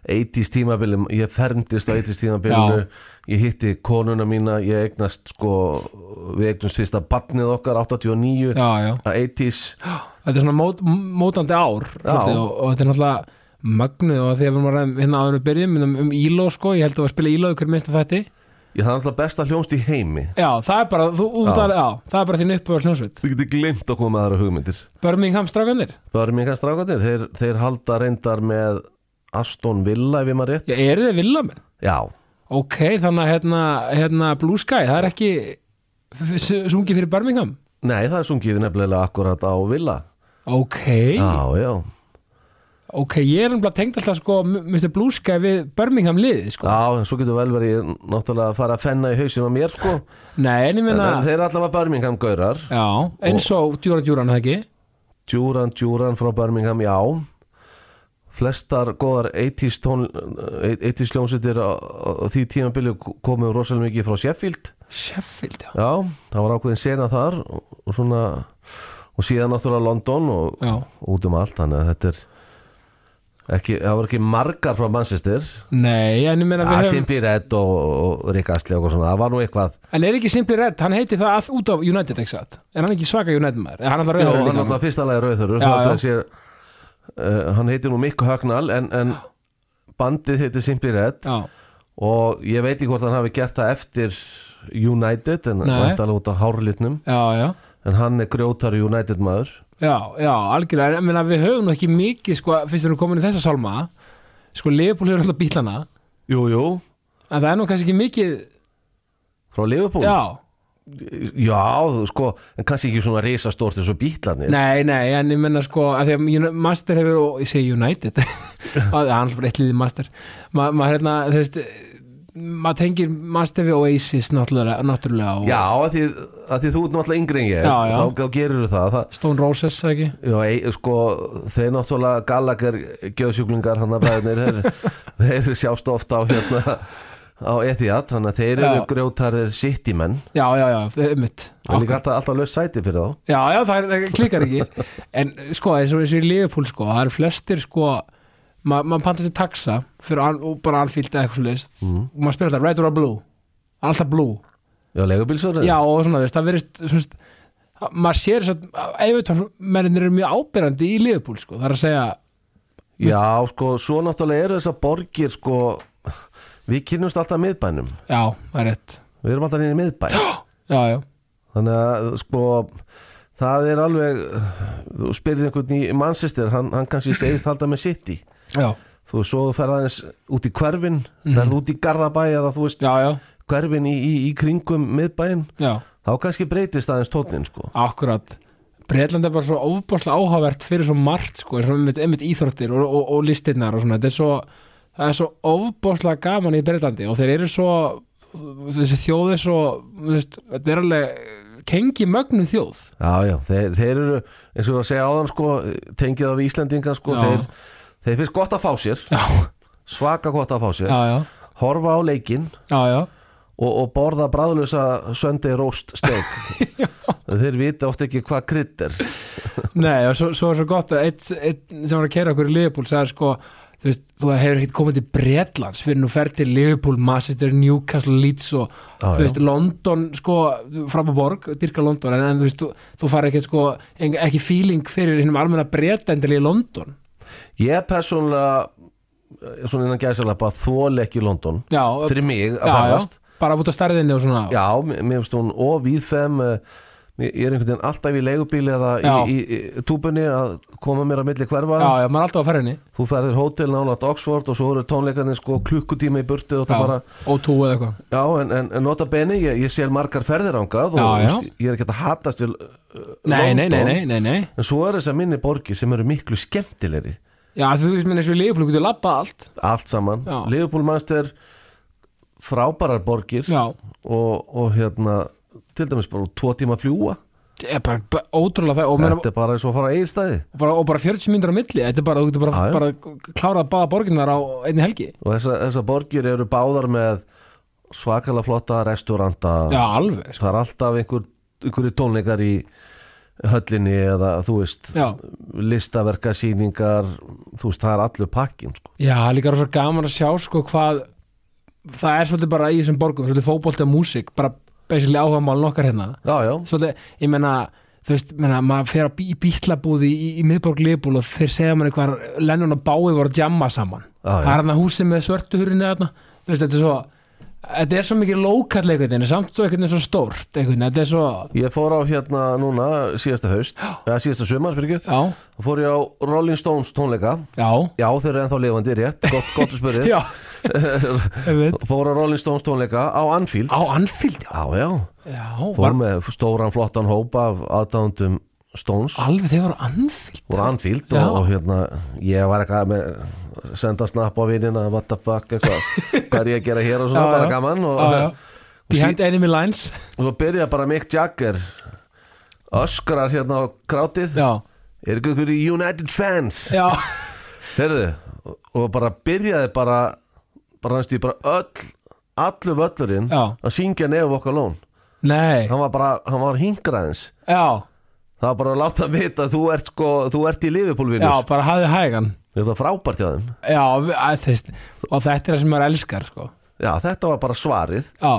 [SPEAKER 2] 80s tímabili, ég fermdist á 80s tímabilinu
[SPEAKER 1] Já.
[SPEAKER 2] ég hitti konuna mína ég eignast sko við eignast fyrsta barnið okkar 89
[SPEAKER 1] já, já.
[SPEAKER 2] að 80s
[SPEAKER 1] Þetta er svona mót, mótandi ár svolítið, og, og þetta er náttúrulega magnuð og þegar við erum að ræða hérna áður við byrjum um, um íló sko, ég held að við að spila íló ykkur minnst að þetta
[SPEAKER 2] ég það er alltaf besta hljónst í heimi
[SPEAKER 1] Já, það er bara, þú, já.
[SPEAKER 2] Já.
[SPEAKER 1] Það, já, það er bara þín uppöður hljónsveit
[SPEAKER 2] þú getur glimt að koma með aðra hugmyndir
[SPEAKER 1] Birmingham strákanir
[SPEAKER 2] það eru mikið strákandir þeir, þeir halda reyndar með Aston Villa ef ég maður rétt
[SPEAKER 1] Já, eru þið villamenn?
[SPEAKER 2] já,
[SPEAKER 1] Ok, þannig að hérna, hérna Blue Sky, það er ekki f- f- sungið fyrir Birmingham
[SPEAKER 2] nei það er sungið nefnilega akkurat á Villa
[SPEAKER 1] Ok,
[SPEAKER 2] já, já,
[SPEAKER 1] ok, ég er umlað tengd alltaf sko Mr. Blue Sky við Birmingham liðið sko
[SPEAKER 2] já, svo getur vel verið ég náttúrulega að fara að fenna í hausinu á mér sko
[SPEAKER 1] Ah. Nei, Oh. en ég
[SPEAKER 2] en,
[SPEAKER 1] meina
[SPEAKER 2] en þeir eru allavega Birmingham gaurar
[SPEAKER 1] Já, eins og Djúran Djúran, það ekki?
[SPEAKER 2] Djúran Djúran frá Birmingham, já flestar góðar 80s, tón, 80s hljómsveitir á, á því tímabili komum rosalega mikið frá Sheffield
[SPEAKER 1] Sheffield, já
[SPEAKER 2] já, það var ákveðin sena þar og, og svona og síðan náttúrulega London og
[SPEAKER 1] Já,
[SPEAKER 2] út um allt þannig að þetta er ekki, það var ekki margar frá Manchester
[SPEAKER 1] nei, en ég meina
[SPEAKER 2] ja,
[SPEAKER 1] við höfum
[SPEAKER 2] Simply Red og, og Rick Astley og eitthvað svona, það var nú eitthvað
[SPEAKER 1] En er ekki Simpli Red, hann heiti það að út af United, ekki satt? Er hann ekki svaka United maður? Er hann alltaf
[SPEAKER 2] Já,
[SPEAKER 1] rauður
[SPEAKER 2] hann er
[SPEAKER 1] líka?
[SPEAKER 2] náttúrulega fyrsta lagi rauðhörur
[SPEAKER 1] Já,
[SPEAKER 2] uh, Hann heitir nú Mikko Högnal en, en bandið heitir Simply Red
[SPEAKER 1] Já,
[SPEAKER 2] og ég veit ekki hvort hann hafi gert það eftir United en
[SPEAKER 1] Nei.
[SPEAKER 2] vantalega út af hárlitnum
[SPEAKER 1] já, já
[SPEAKER 2] en hann er grjótari United maður
[SPEAKER 1] Já, já, algjörlega, en ég meina við höfum nú ekki mikið, sko, fyrst við erum komin í þessa sálma sko, Leopold hefur alltaf bílana
[SPEAKER 2] Jú, jú
[SPEAKER 1] en það er nú kannski ekki mikið
[SPEAKER 2] Frá Liverpool?
[SPEAKER 1] Já,
[SPEAKER 2] Já, þú sko, en kannski ekki svona risastórt eins og bítlarnir
[SPEAKER 1] nei, nei, en ég meina sko að því að Uni- Master hefur, og ég segi United það er hans bara eitt liðið Master Ma- maður hérna, þú veist maður tengir Master við Oasis náttúrulega, náttúrulega og
[SPEAKER 2] Já, að því, að því þú ert náttúrulega yngri en ég
[SPEAKER 1] Já, já.
[SPEAKER 2] Þá, þá gerirðu það, það
[SPEAKER 1] Stone Roses, sagði ekki?
[SPEAKER 2] Já, ei, sko, þeir náttúrulega Gallagher geðsjúklingar hann að bæðinir þeir, þeir sjást ofta á hérna á Etihad, þannig að þeir eru
[SPEAKER 1] Já.
[SPEAKER 2] grjótarðir city menn,
[SPEAKER 1] Já, já, já, ummitt
[SPEAKER 2] það er líka alltaf, alltaf laus sæti fyrir þá
[SPEAKER 1] Já, já, það, er, það klikkar ekki En sko, eins og eins og í Liverpool sko Það eru flestir sko ma- Maður panta sér taxa fyrir an, og bara anfílt eða eitthvað svoleiðis
[SPEAKER 2] Mhm.
[SPEAKER 1] og maður spyrir alltaf red or a blue Alltaf blue
[SPEAKER 2] Já, legubílsvörður?
[SPEAKER 1] Já, og svona, veist, það verist svona, maður sér þess að eifutónmennir eru mjög ábyrrandi í Liverpool sko. það er að segja
[SPEAKER 2] Já, sko, svo náttúrulega eru þessar borgir sko, við kynnumst alltaf miðbænum,
[SPEAKER 1] Já, það er rétt
[SPEAKER 2] við erum alltaf nýri miðbæn
[SPEAKER 1] Já, já,
[SPEAKER 2] þannig að sko það er alveg þú spyrði einhvern í Manchester hann, hann kannski segist halda með city
[SPEAKER 1] já,
[SPEAKER 2] þú svo þú ferð aðeins út í hverfin mm.
[SPEAKER 1] Mhm.
[SPEAKER 2] ferð út í Garðabæ eða þú veist
[SPEAKER 1] já, já,
[SPEAKER 2] hverfin í, í, í kringum miðbæin
[SPEAKER 1] já.
[SPEAKER 2] þá kannski breytist aðeins tónin sko
[SPEAKER 1] Akkurat Breitland er bara svo óbáslega áhugavert fyrir svo margt sko, eins og einmitt, einmitt íþróttir og, og, og listirnar og svona, þetta er svo það er svo óbáslega gaman í Breitlandi og þeir eru svo þessi þjóð er svo þú veist, þetta er alveg kengi mögnu þjóð
[SPEAKER 2] já já, þeir, þeir eru eins og ég var að segja áðan sko tengið af Íslendinga sko
[SPEAKER 1] Já.
[SPEAKER 2] þeir, þeir finnst gott að fá sér
[SPEAKER 1] Já,
[SPEAKER 2] svaka gott að fá sér
[SPEAKER 1] já, já,
[SPEAKER 2] horfa á leikinn
[SPEAKER 1] já, já,
[SPEAKER 2] og, og borða bræðlösa söndi róst steik þeir vita oft ekki hvað krydd er
[SPEAKER 1] Nei, og svo, svo er svo gott að eitt, eitt sem var að kera okkur í Liverpool sagði sko, þú veist, þú hefur ekkert komið til Bretlands fyrir nú ferð til Liverpool, Manchester, Newcastle, Leeds og
[SPEAKER 2] Já,
[SPEAKER 1] þú veist, London, sko Frababorg, dyrka London en, en þú veist, þú, þú fari ekkert sko en, ekki feeling fyrir hinnum almenna bretendil í London
[SPEAKER 2] Ég persónulega eh, svona innan gæsalappa þól ekki London
[SPEAKER 1] Já,
[SPEAKER 2] fyrir mig að
[SPEAKER 1] já,
[SPEAKER 2] ferðast
[SPEAKER 1] já, bara út af stærðinni og svona
[SPEAKER 2] Já, mér mér finnst hún of víðfem ég er einhvern veginn alltaf í leigubíli eða í,
[SPEAKER 1] Já.
[SPEAKER 2] í, í túbunni að koma mér að milli hverfa
[SPEAKER 1] já, já, maður er alltaf á ferðinni
[SPEAKER 2] þú ferðir hótel nálaðt Oxford og svo eru tónleikarnir sko klukkutíma í burtu og það bara,
[SPEAKER 1] já, og tú eða eitthvað
[SPEAKER 2] já en, en, en nota beni ég, ég sér margar ferðir ángað og
[SPEAKER 1] Já, já.
[SPEAKER 2] þú veist, ég er ekki að hatast til uh,
[SPEAKER 1] Nei, nei,
[SPEAKER 2] London
[SPEAKER 1] nei, nei, nei, nei
[SPEAKER 2] en svo eru þessar minni borgi sem eru miklu skemmtilegri
[SPEAKER 1] Já, þú veist, minn eins og í Liverpool, þú getur labbað allt
[SPEAKER 2] allt saman,
[SPEAKER 1] Já.
[SPEAKER 2] Liverpool mannstæður frábærar borgir
[SPEAKER 1] Já,
[SPEAKER 2] og, og hérna til dæmis bara úr tvo tíma að fljúa
[SPEAKER 1] ég er bara, bara ótrúlega það og meina-
[SPEAKER 2] þetta er bara eins og að fara að eigin stæði
[SPEAKER 1] og bara, og bara 40 myndir á milli þetta er bara, þú getur bara,
[SPEAKER 2] Já, já.
[SPEAKER 1] bara klárað báða borginnar á einni helgi
[SPEAKER 2] og þessar þessa borgir eru báðar með svakalega flotta restauranta
[SPEAKER 1] já, alveg sko.
[SPEAKER 2] það er alltaf einhver, einhverju tónleikar í höllinni eða þú veist
[SPEAKER 1] já.
[SPEAKER 2] listaverkasýningar þú veist það er allur pakkin sko.
[SPEAKER 1] já, líka rosa gaman að sjá sko hvað það er svolítið bara í þessum borgum svolítið fótbolti og músík, bara basically áhuga mál nokkar hérna
[SPEAKER 2] já, já,
[SPEAKER 1] svolítið, ég meina þú veist, meina, maður fer á bí- í bítlabúði í, í miðborg Leifbúl og þeir segja manni hvað Lennon og Bái voru að jamma saman
[SPEAKER 2] Já, já.
[SPEAKER 1] það er hann að húsi með svörtu hurinu þarna þú veist, þetta er svo þetta er svo mikið lókall einhvern veginn, en samt svo einhvern veginn svo stórt einhvern veginn, þetta er svo
[SPEAKER 2] ég fór á hérna núna síðasta haust, eða síðasta sumar fyrir ekki,
[SPEAKER 1] já,
[SPEAKER 2] þá fór ég á Rolling Stones tónleika,
[SPEAKER 1] já,
[SPEAKER 2] já þeir eru ennþá lifandi rétt, gott, gott að spyrja,
[SPEAKER 1] já ég veit,
[SPEAKER 2] fór á Rolling Stones tónleika á Anfield,
[SPEAKER 1] á Anfield já,
[SPEAKER 2] já, já,
[SPEAKER 1] já
[SPEAKER 2] fór
[SPEAKER 1] var,
[SPEAKER 2] með stóran flottan hópa af aðdándum Stones
[SPEAKER 1] alveg þeir voru á Anfield
[SPEAKER 2] úr Anfield
[SPEAKER 1] Já.
[SPEAKER 2] og, og hérna ég var eitthvað með senda snapp á vinnina, what the fuck eitthvað, hvað er ég að gera hér og svona,
[SPEAKER 1] Já,
[SPEAKER 2] bara
[SPEAKER 1] já.
[SPEAKER 2] gaman og,
[SPEAKER 1] já, já. behind enemy lines
[SPEAKER 2] og svo byrja bara Mick Jagger öskrar hérna á krátið
[SPEAKER 1] já,
[SPEAKER 2] er ekki ykkur í United Fans
[SPEAKER 1] já,
[SPEAKER 2] heyrðu, og- og bara byrjaði bara bara hans því bara öll allu völlurinn
[SPEAKER 1] Já.
[SPEAKER 2] að syngja nefum okkar lón
[SPEAKER 1] nei
[SPEAKER 2] hann var bara, hann var hingraðins
[SPEAKER 1] já,
[SPEAKER 2] það var bara að láta vita að þú ert sko, þú ert í
[SPEAKER 1] já,
[SPEAKER 2] Liverpool-vinnur
[SPEAKER 1] bara hafði hægan
[SPEAKER 2] þetta var frábært hjá þeim
[SPEAKER 1] já, að, þess, og þetta er það sem maður elskar sko.
[SPEAKER 2] já, þetta var bara svarið
[SPEAKER 1] já,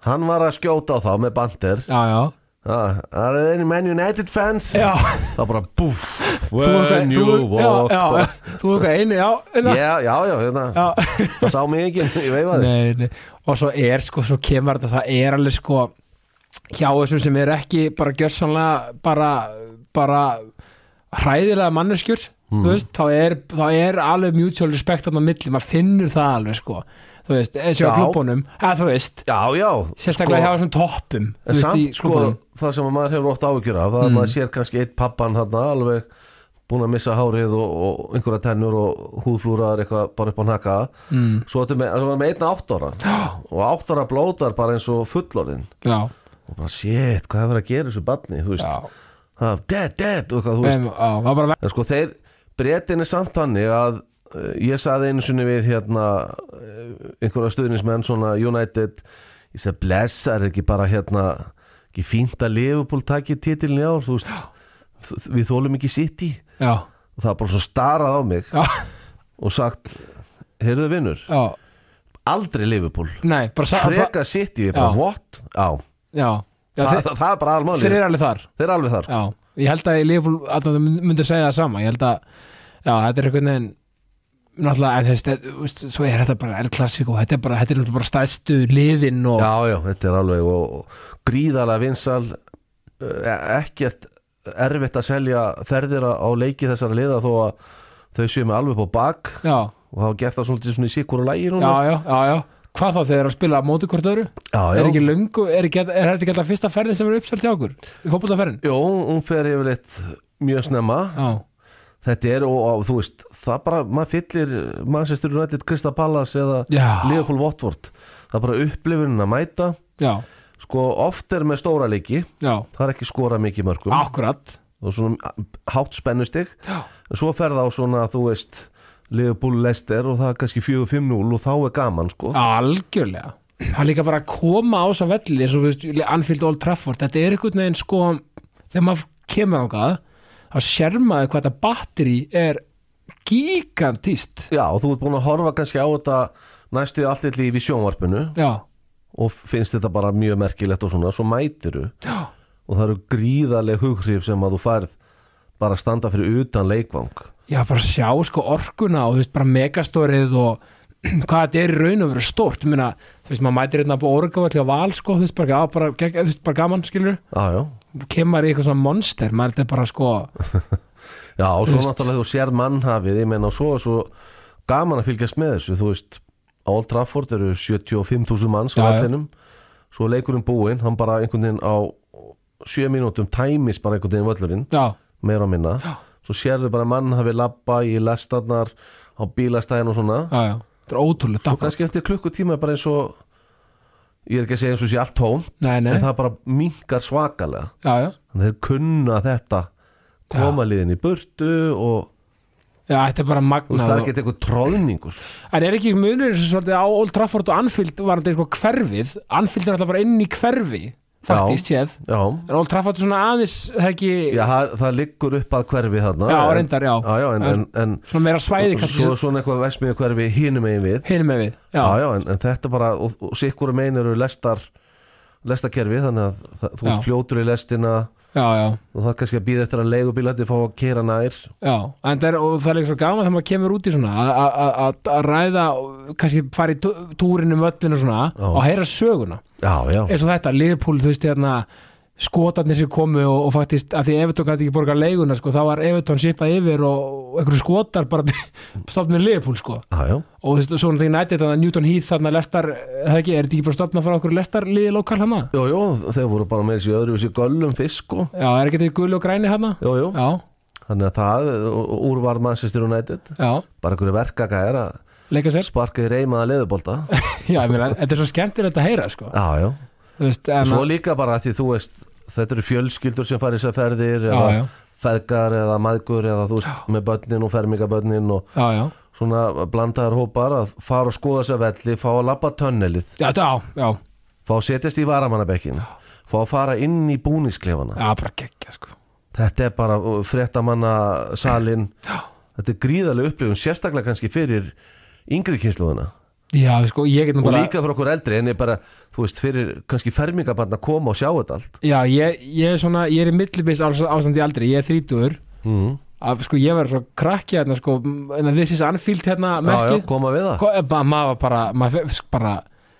[SPEAKER 2] Hann var að skjóta á þá með bandir
[SPEAKER 1] já, já,
[SPEAKER 2] Það er einu Man United fans
[SPEAKER 1] já.
[SPEAKER 2] Það bara búff
[SPEAKER 1] þú eitthvað- þú, já, já, já, þú er eitthvað einu já, einu,
[SPEAKER 2] Já, já, já, hérna
[SPEAKER 1] já.
[SPEAKER 2] Það sá mig ekki, ég veifaði
[SPEAKER 1] Nei, nei. og svo er sko, svo kemur þetta það er alveg sko hjá þessum sem er ekki bara gjössanlega bara, bara hræðilega manneskjur þú
[SPEAKER 2] Mhm.
[SPEAKER 1] veist, þá, er, þá er alveg mutual respect þarna á milli, maður finnur það alveg sko, þú veist, eins og á
[SPEAKER 2] Já.
[SPEAKER 1] klubunum eða þú veist,
[SPEAKER 2] Já, já
[SPEAKER 1] sérstaklega hjá
[SPEAKER 2] sko,
[SPEAKER 1] þessum toppum þú
[SPEAKER 2] En
[SPEAKER 1] veist, í
[SPEAKER 2] samt, sko,
[SPEAKER 1] klúbunum.
[SPEAKER 2] það sem maður hefur oft áhyggjur af Það mm. maður sér kannski eitt pappan þarna alveg búin að missa hárið og, og einhverja tennur og húðflúraðar eitthvað bara upp á nakka mm. Svo þetta með, svo ertu með einna átt ára Og átt ára blótar bara eins og fullorinn
[SPEAKER 1] já,
[SPEAKER 2] Og bara, shit, hvað hefur að gera í þessu barni, þú veist
[SPEAKER 1] já,
[SPEAKER 2] ha, Dead, dead, og hvað, þú veist
[SPEAKER 1] em, já, það var bara
[SPEAKER 2] En sko þeir breytin er samt þannig að uh, ég saði einu sinni við hérna uh, einhverja stuðnismenn svona United ég sagði blessar er ekki bara hérna ekki fínt að Liverpool taki titilin í ár þú veist þ- við þólum ekki City
[SPEAKER 1] já,
[SPEAKER 2] og það er bara svo starað á mig
[SPEAKER 1] já,
[SPEAKER 2] og sagt heyrðu vinnur
[SPEAKER 1] já,
[SPEAKER 2] aldrei Liverpool
[SPEAKER 1] nei, bara sa-
[SPEAKER 2] freka City ég bara
[SPEAKER 1] Já.
[SPEAKER 2] what á
[SPEAKER 1] já, já,
[SPEAKER 2] það,
[SPEAKER 1] þeir,
[SPEAKER 2] það, það er bara aðalmáli
[SPEAKER 1] þeir
[SPEAKER 2] þeir,
[SPEAKER 1] eru alveg þar
[SPEAKER 2] er alveg þar
[SPEAKER 1] Já, ég held að í Liverpool allan þau myndi segja það sama ég held að, já, þetta er einhvern veginn náttúrulega, en þess, þetta, þú veist, svo er þetta bara El Clasico, þetta er bara, þetta er náttúrulega bara stæðstu liðin og,
[SPEAKER 2] Já, já, þetta er alveg og, og gríðalega vinsal ekkert erfitt að selja ferðir á leiki þessara liða þó að þau séu með alveg upp á bak
[SPEAKER 1] já,
[SPEAKER 2] og hafa gert það svolítið svona í sikkur og lægi
[SPEAKER 1] já,
[SPEAKER 2] núna
[SPEAKER 1] já, já, já. hvað þá þegar að spila á móti hvort öðru,
[SPEAKER 2] já,
[SPEAKER 1] er ekki lungu er, ekki, er þetta ekki alltaf fyrsta ferðin sem er uppselt hjá okkur í fótbollaferðin?
[SPEAKER 2] Jó, hún fer yfirleitt mjög snemma
[SPEAKER 1] Já,
[SPEAKER 2] þetta er og, og þú veist það bara, maður fyllir Manchester United Krista Pallas eða
[SPEAKER 1] já,
[SPEAKER 2] Liverpool Watford það er bara upplifunin að mæta
[SPEAKER 1] já,
[SPEAKER 2] sko oft er með stóra leiki
[SPEAKER 1] já
[SPEAKER 2] það er ekki skora mikið mörgum
[SPEAKER 1] akkurat,
[SPEAKER 2] og svona hátt spennustig
[SPEAKER 1] Já.
[SPEAKER 2] svo fer það á svona þú veist Liverpool Leicester og það er kannski 4-5-0 og þá er gaman sko
[SPEAKER 1] algjörlega það er líka bara að koma á þess að velli eins og við veist, Anfield Old Trafford þetta er einhvern veginn sko þegar maður kemur ángað þá sérmaði hvað þetta batteri er gigantíst
[SPEAKER 2] já og þú ert búin að horfa kannski á þetta næstu allir lífi í sjónvarpinu
[SPEAKER 1] já,
[SPEAKER 2] og finnst þetta bara mjög merkilegt og svona svo mætiru
[SPEAKER 1] já,
[SPEAKER 2] og það eru gríðarleg hughrif sem að þú færð bara að standa fyrir utan leikvang
[SPEAKER 1] já bara sjá sko orkuna og þú veist bara megastórið og hvað þetta er í raun og veru stórt Ég meina, þú veist maður mætir hérna á orgavalli á val sko þú veist bara, já, bara, gegg- þú veist, bara gaman skilur
[SPEAKER 2] já já
[SPEAKER 1] kemur í eitthvað svona monster maður þetta er bara sko
[SPEAKER 2] já og svo
[SPEAKER 1] Þú veist.
[SPEAKER 2] náttúrulega þú sér mannhafið ég menna og svo er svo gaman að fylgjast með þessu þú veist á Old Trafford eru 75.000 manns á
[SPEAKER 1] Já, já.
[SPEAKER 2] allinum svo er leikurinn búinn hann bara einhvern veginn á 7 mínútum tæmis bara einhvern veginn völlurinn
[SPEAKER 1] já,
[SPEAKER 2] meira og minna
[SPEAKER 1] Já.
[SPEAKER 2] svo sérðu bara mannhafið labba í lestarnar á bílastæðin og svona
[SPEAKER 1] já, já, þetta er ótrúlega
[SPEAKER 2] og
[SPEAKER 1] dappa
[SPEAKER 2] kannski eftir klukkutíma er bara eins og ég er ekki að segja eins og sé allt tóm
[SPEAKER 1] nei, nei,
[SPEAKER 2] en það bara minkar svakalega
[SPEAKER 1] já, já
[SPEAKER 2] þannig að þeir kunna þetta koma liðin í burtu og
[SPEAKER 1] Já, þetta er bara
[SPEAKER 2] Þú veist, það er
[SPEAKER 1] magnað og-
[SPEAKER 2] ekkert eitthvað tróðningur
[SPEAKER 1] En er ekki munur eins og svolítið á Old Trafford og Anfield var þetta sko hverfið Anfield er alltaf bara inn í hverfi faktist séð
[SPEAKER 2] já,
[SPEAKER 1] en Old Trafford er svona aðeins það er ekki,
[SPEAKER 2] já það, það liggur upp að hverfi þarna
[SPEAKER 1] já,
[SPEAKER 2] en-
[SPEAKER 1] reyndar, já,
[SPEAKER 2] já, já, en, en, en
[SPEAKER 1] svona meira svæði kannski
[SPEAKER 2] svo, svona eitthvað vesmiðu hverfi hinum megin við
[SPEAKER 1] hinum með við já,
[SPEAKER 2] já, já, en, en þetta bara og, og sikkur megin eru lestar lestarkerfi þannig að það, þú ert
[SPEAKER 1] Já.
[SPEAKER 2] fljótur í lestina
[SPEAKER 1] já, já,
[SPEAKER 2] og það er kannski að býða eftir að leigubílætti fá að kera nær
[SPEAKER 1] já. En það er, og það er líka svo gaman þegar maður kemur út í svona að- að- að- að að ræða kannski fara í tú- túrin um völlinu svona
[SPEAKER 2] Já.
[SPEAKER 1] og heyra söguna
[SPEAKER 2] já, já,
[SPEAKER 1] eins og þetta, Liverpool, þú veist, hérna skotarnir sem komu og, og faktist að því Evertón gæti ekki borga leiguna, sko, þá var Evertón sipað yfir og, og einhverju skotar bara stofn með Liverpool, sko
[SPEAKER 2] já, já,
[SPEAKER 1] og þú veist, svona þegar nætti þetta Newton Heath þarna lestar, það ekki, er þetta ekki bara stofna frá okkur lestar liði lokal hana?
[SPEAKER 2] Jú, jú, þeir voru bara með þessi öðru þessi göllum fisk og,
[SPEAKER 1] Já, er ekki þetta gulli og græni hana?
[SPEAKER 2] jú, jú,
[SPEAKER 1] Já,
[SPEAKER 2] þannig að það úrvarð Manchester United,
[SPEAKER 1] já,
[SPEAKER 2] bara einhverju verkaka er að
[SPEAKER 1] leika sér
[SPEAKER 2] sparka í reymaða leðubolta,
[SPEAKER 1] Já, ég meina, þetta er svo skemmtilegt að heyra, sko
[SPEAKER 2] já, já
[SPEAKER 1] Þú veist, en
[SPEAKER 2] Svo líka bara að því þú veist þetta eru fjölskyldur sem fara í þessar ferðir
[SPEAKER 1] Já,
[SPEAKER 2] eða
[SPEAKER 1] já.
[SPEAKER 2] feðgar eða maðgur eða þú veist með börnin og fermingabörnin og
[SPEAKER 1] Já, já,
[SPEAKER 2] svona blandaðar hópar að fara og skoða þessa velli, fá að labba tönnelið
[SPEAKER 1] já, já, já,
[SPEAKER 2] fá að setjast í varamannabekkin fá að fara inn í búningsklefana
[SPEAKER 1] já, bara geggja, sko
[SPEAKER 2] þetta er bara frettamanna salin
[SPEAKER 1] Já.
[SPEAKER 2] þetta er gríðarlega upplifun sérstaklega kannski fyrir yngri kynsluðuna
[SPEAKER 1] Já, sko, ég get nú
[SPEAKER 2] og
[SPEAKER 1] bara
[SPEAKER 2] líka fyrir okkur eldri en er bara, þú veist, fyrir kannski fermingabarn að koma og sjá þetta allt
[SPEAKER 1] Já, ég, ég er svona, ég er í millibis ástandi aldrei, ég er þrítugur
[SPEAKER 2] mm.
[SPEAKER 1] að sko ég verður svo krakki hérna sko, m- en að this is Anfield hérna
[SPEAKER 2] já, já,
[SPEAKER 1] merkið,
[SPEAKER 2] koma við það
[SPEAKER 1] Ko- eh, ba- maður var bara maður fe- sk- bara,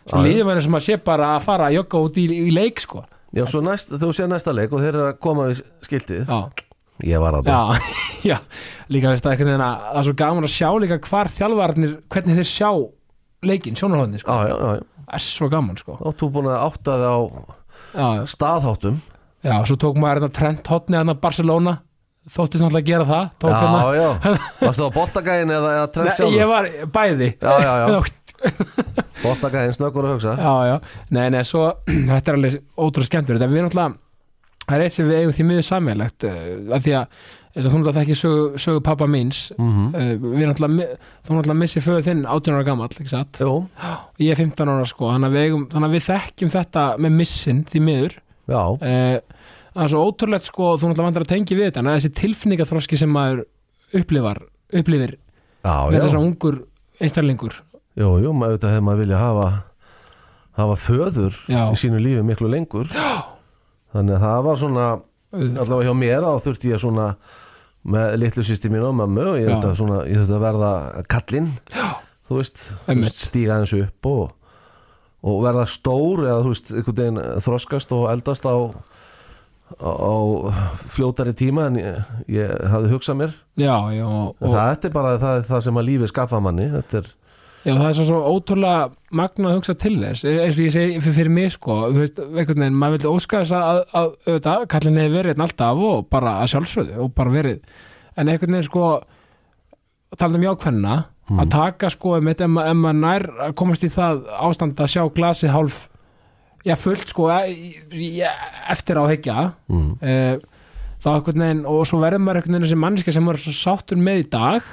[SPEAKER 1] svo
[SPEAKER 2] Já, já.
[SPEAKER 1] líður maður sem maður sé bara að fara að jogga út í, í leik sko
[SPEAKER 2] Já, svo næst, þú sé næsta leik og þeir eru að koma við skiltið
[SPEAKER 1] já,
[SPEAKER 2] Ég var að það
[SPEAKER 1] já, já líka veist það einhvern veginn að það er svo gaman að sjá líka hvar þjálfarnir, hvernig þeir sjá leikinn, sjónarhóðinni sko,
[SPEAKER 2] Já, já, já, já.
[SPEAKER 1] það er svo gaman sko
[SPEAKER 2] Þá þú búin að átta þig á
[SPEAKER 1] já,
[SPEAKER 2] staðháttum
[SPEAKER 1] já, svo tók maður hérna Trent hotni hérna Barcelona, þóttist náttúrulega að gera það tók
[SPEAKER 2] Já, já, varstu á boltagæðin eða, eða
[SPEAKER 1] hérna,
[SPEAKER 2] trend
[SPEAKER 1] Nei, ég
[SPEAKER 2] sjálfur?
[SPEAKER 1] var bæði
[SPEAKER 2] Já, já, já,
[SPEAKER 1] já,
[SPEAKER 2] boltagæðin snöggur að hugsa
[SPEAKER 1] já, já, nei, nei, svo þetta er alveg ótrúlega skemmtilegt en við náttúrulega, það er eitt sem við eigum því miður sammeilegt af því að eins og þú náttúrulega þekki sögu, sögu pappa míns uh,
[SPEAKER 2] mm
[SPEAKER 1] við náttúrulega, mi- þú náttúrulega missir föðu þinn 18 ára gamall, ekki satt
[SPEAKER 2] Jú,
[SPEAKER 1] ég er 15 ára sko, þannig að við, eigum, þannig að við þekkjum þetta með missin því miður
[SPEAKER 2] já,
[SPEAKER 1] uh, það er svo ótrúlegt sko, þú náttúrulega vantar að tengja við þetta en þessi tilfinningaþroski sem maður upplifar, upplifir,
[SPEAKER 2] já,
[SPEAKER 1] þetta
[SPEAKER 2] já
[SPEAKER 1] er svona ungur einstaklingur,
[SPEAKER 2] Jú, jú, maður auðvitað hefur maður vilja hafa hafa föður
[SPEAKER 1] já,
[SPEAKER 2] í sínu lífi miklu lengur já. Þannig að það var svona
[SPEAKER 1] auðvitað.
[SPEAKER 2] allavega hjá mér að þurfti ég svona með litlu sýsti mín og mammu og ég
[SPEAKER 1] Já.
[SPEAKER 2] þetta svona, ég þetta verða kallinn þú veist, þú
[SPEAKER 1] Einmitt.
[SPEAKER 2] veist, stíga eins upp og, og verða stór eða þú veist, einhvern veginn þroskast og eldast á á á fljótari tíma en ég, ég hafði hugsað mér
[SPEAKER 1] já, já og,
[SPEAKER 2] og það er bara það, það sem að lífi skaffa manni þetta er,
[SPEAKER 1] Já, það er svo, svo ótrúlega magnað að hugsa til þess, E, eins og ég segi fyrir, fyrir mig sko, þú veist, einhvern veginn, maður vildi óska þess að, að, auðvitað, kallin hefur verið einn alltaf og bara að sjálfsögðu og bara verið, en einhvern veginn sko, talað um jákvenna,
[SPEAKER 2] Mm, Mhm.
[SPEAKER 1] að taka sko, um eitt, ef ma- ef maður nær að komast í það ástand að sjá glasið hálf, já, fullt sko, e, e, eftir á hekja,
[SPEAKER 2] mm,
[SPEAKER 1] Eh, þá einhvern veginn og svo verður maður einhvern veginn þessi mannskja sem maður er svo sáttur með í dag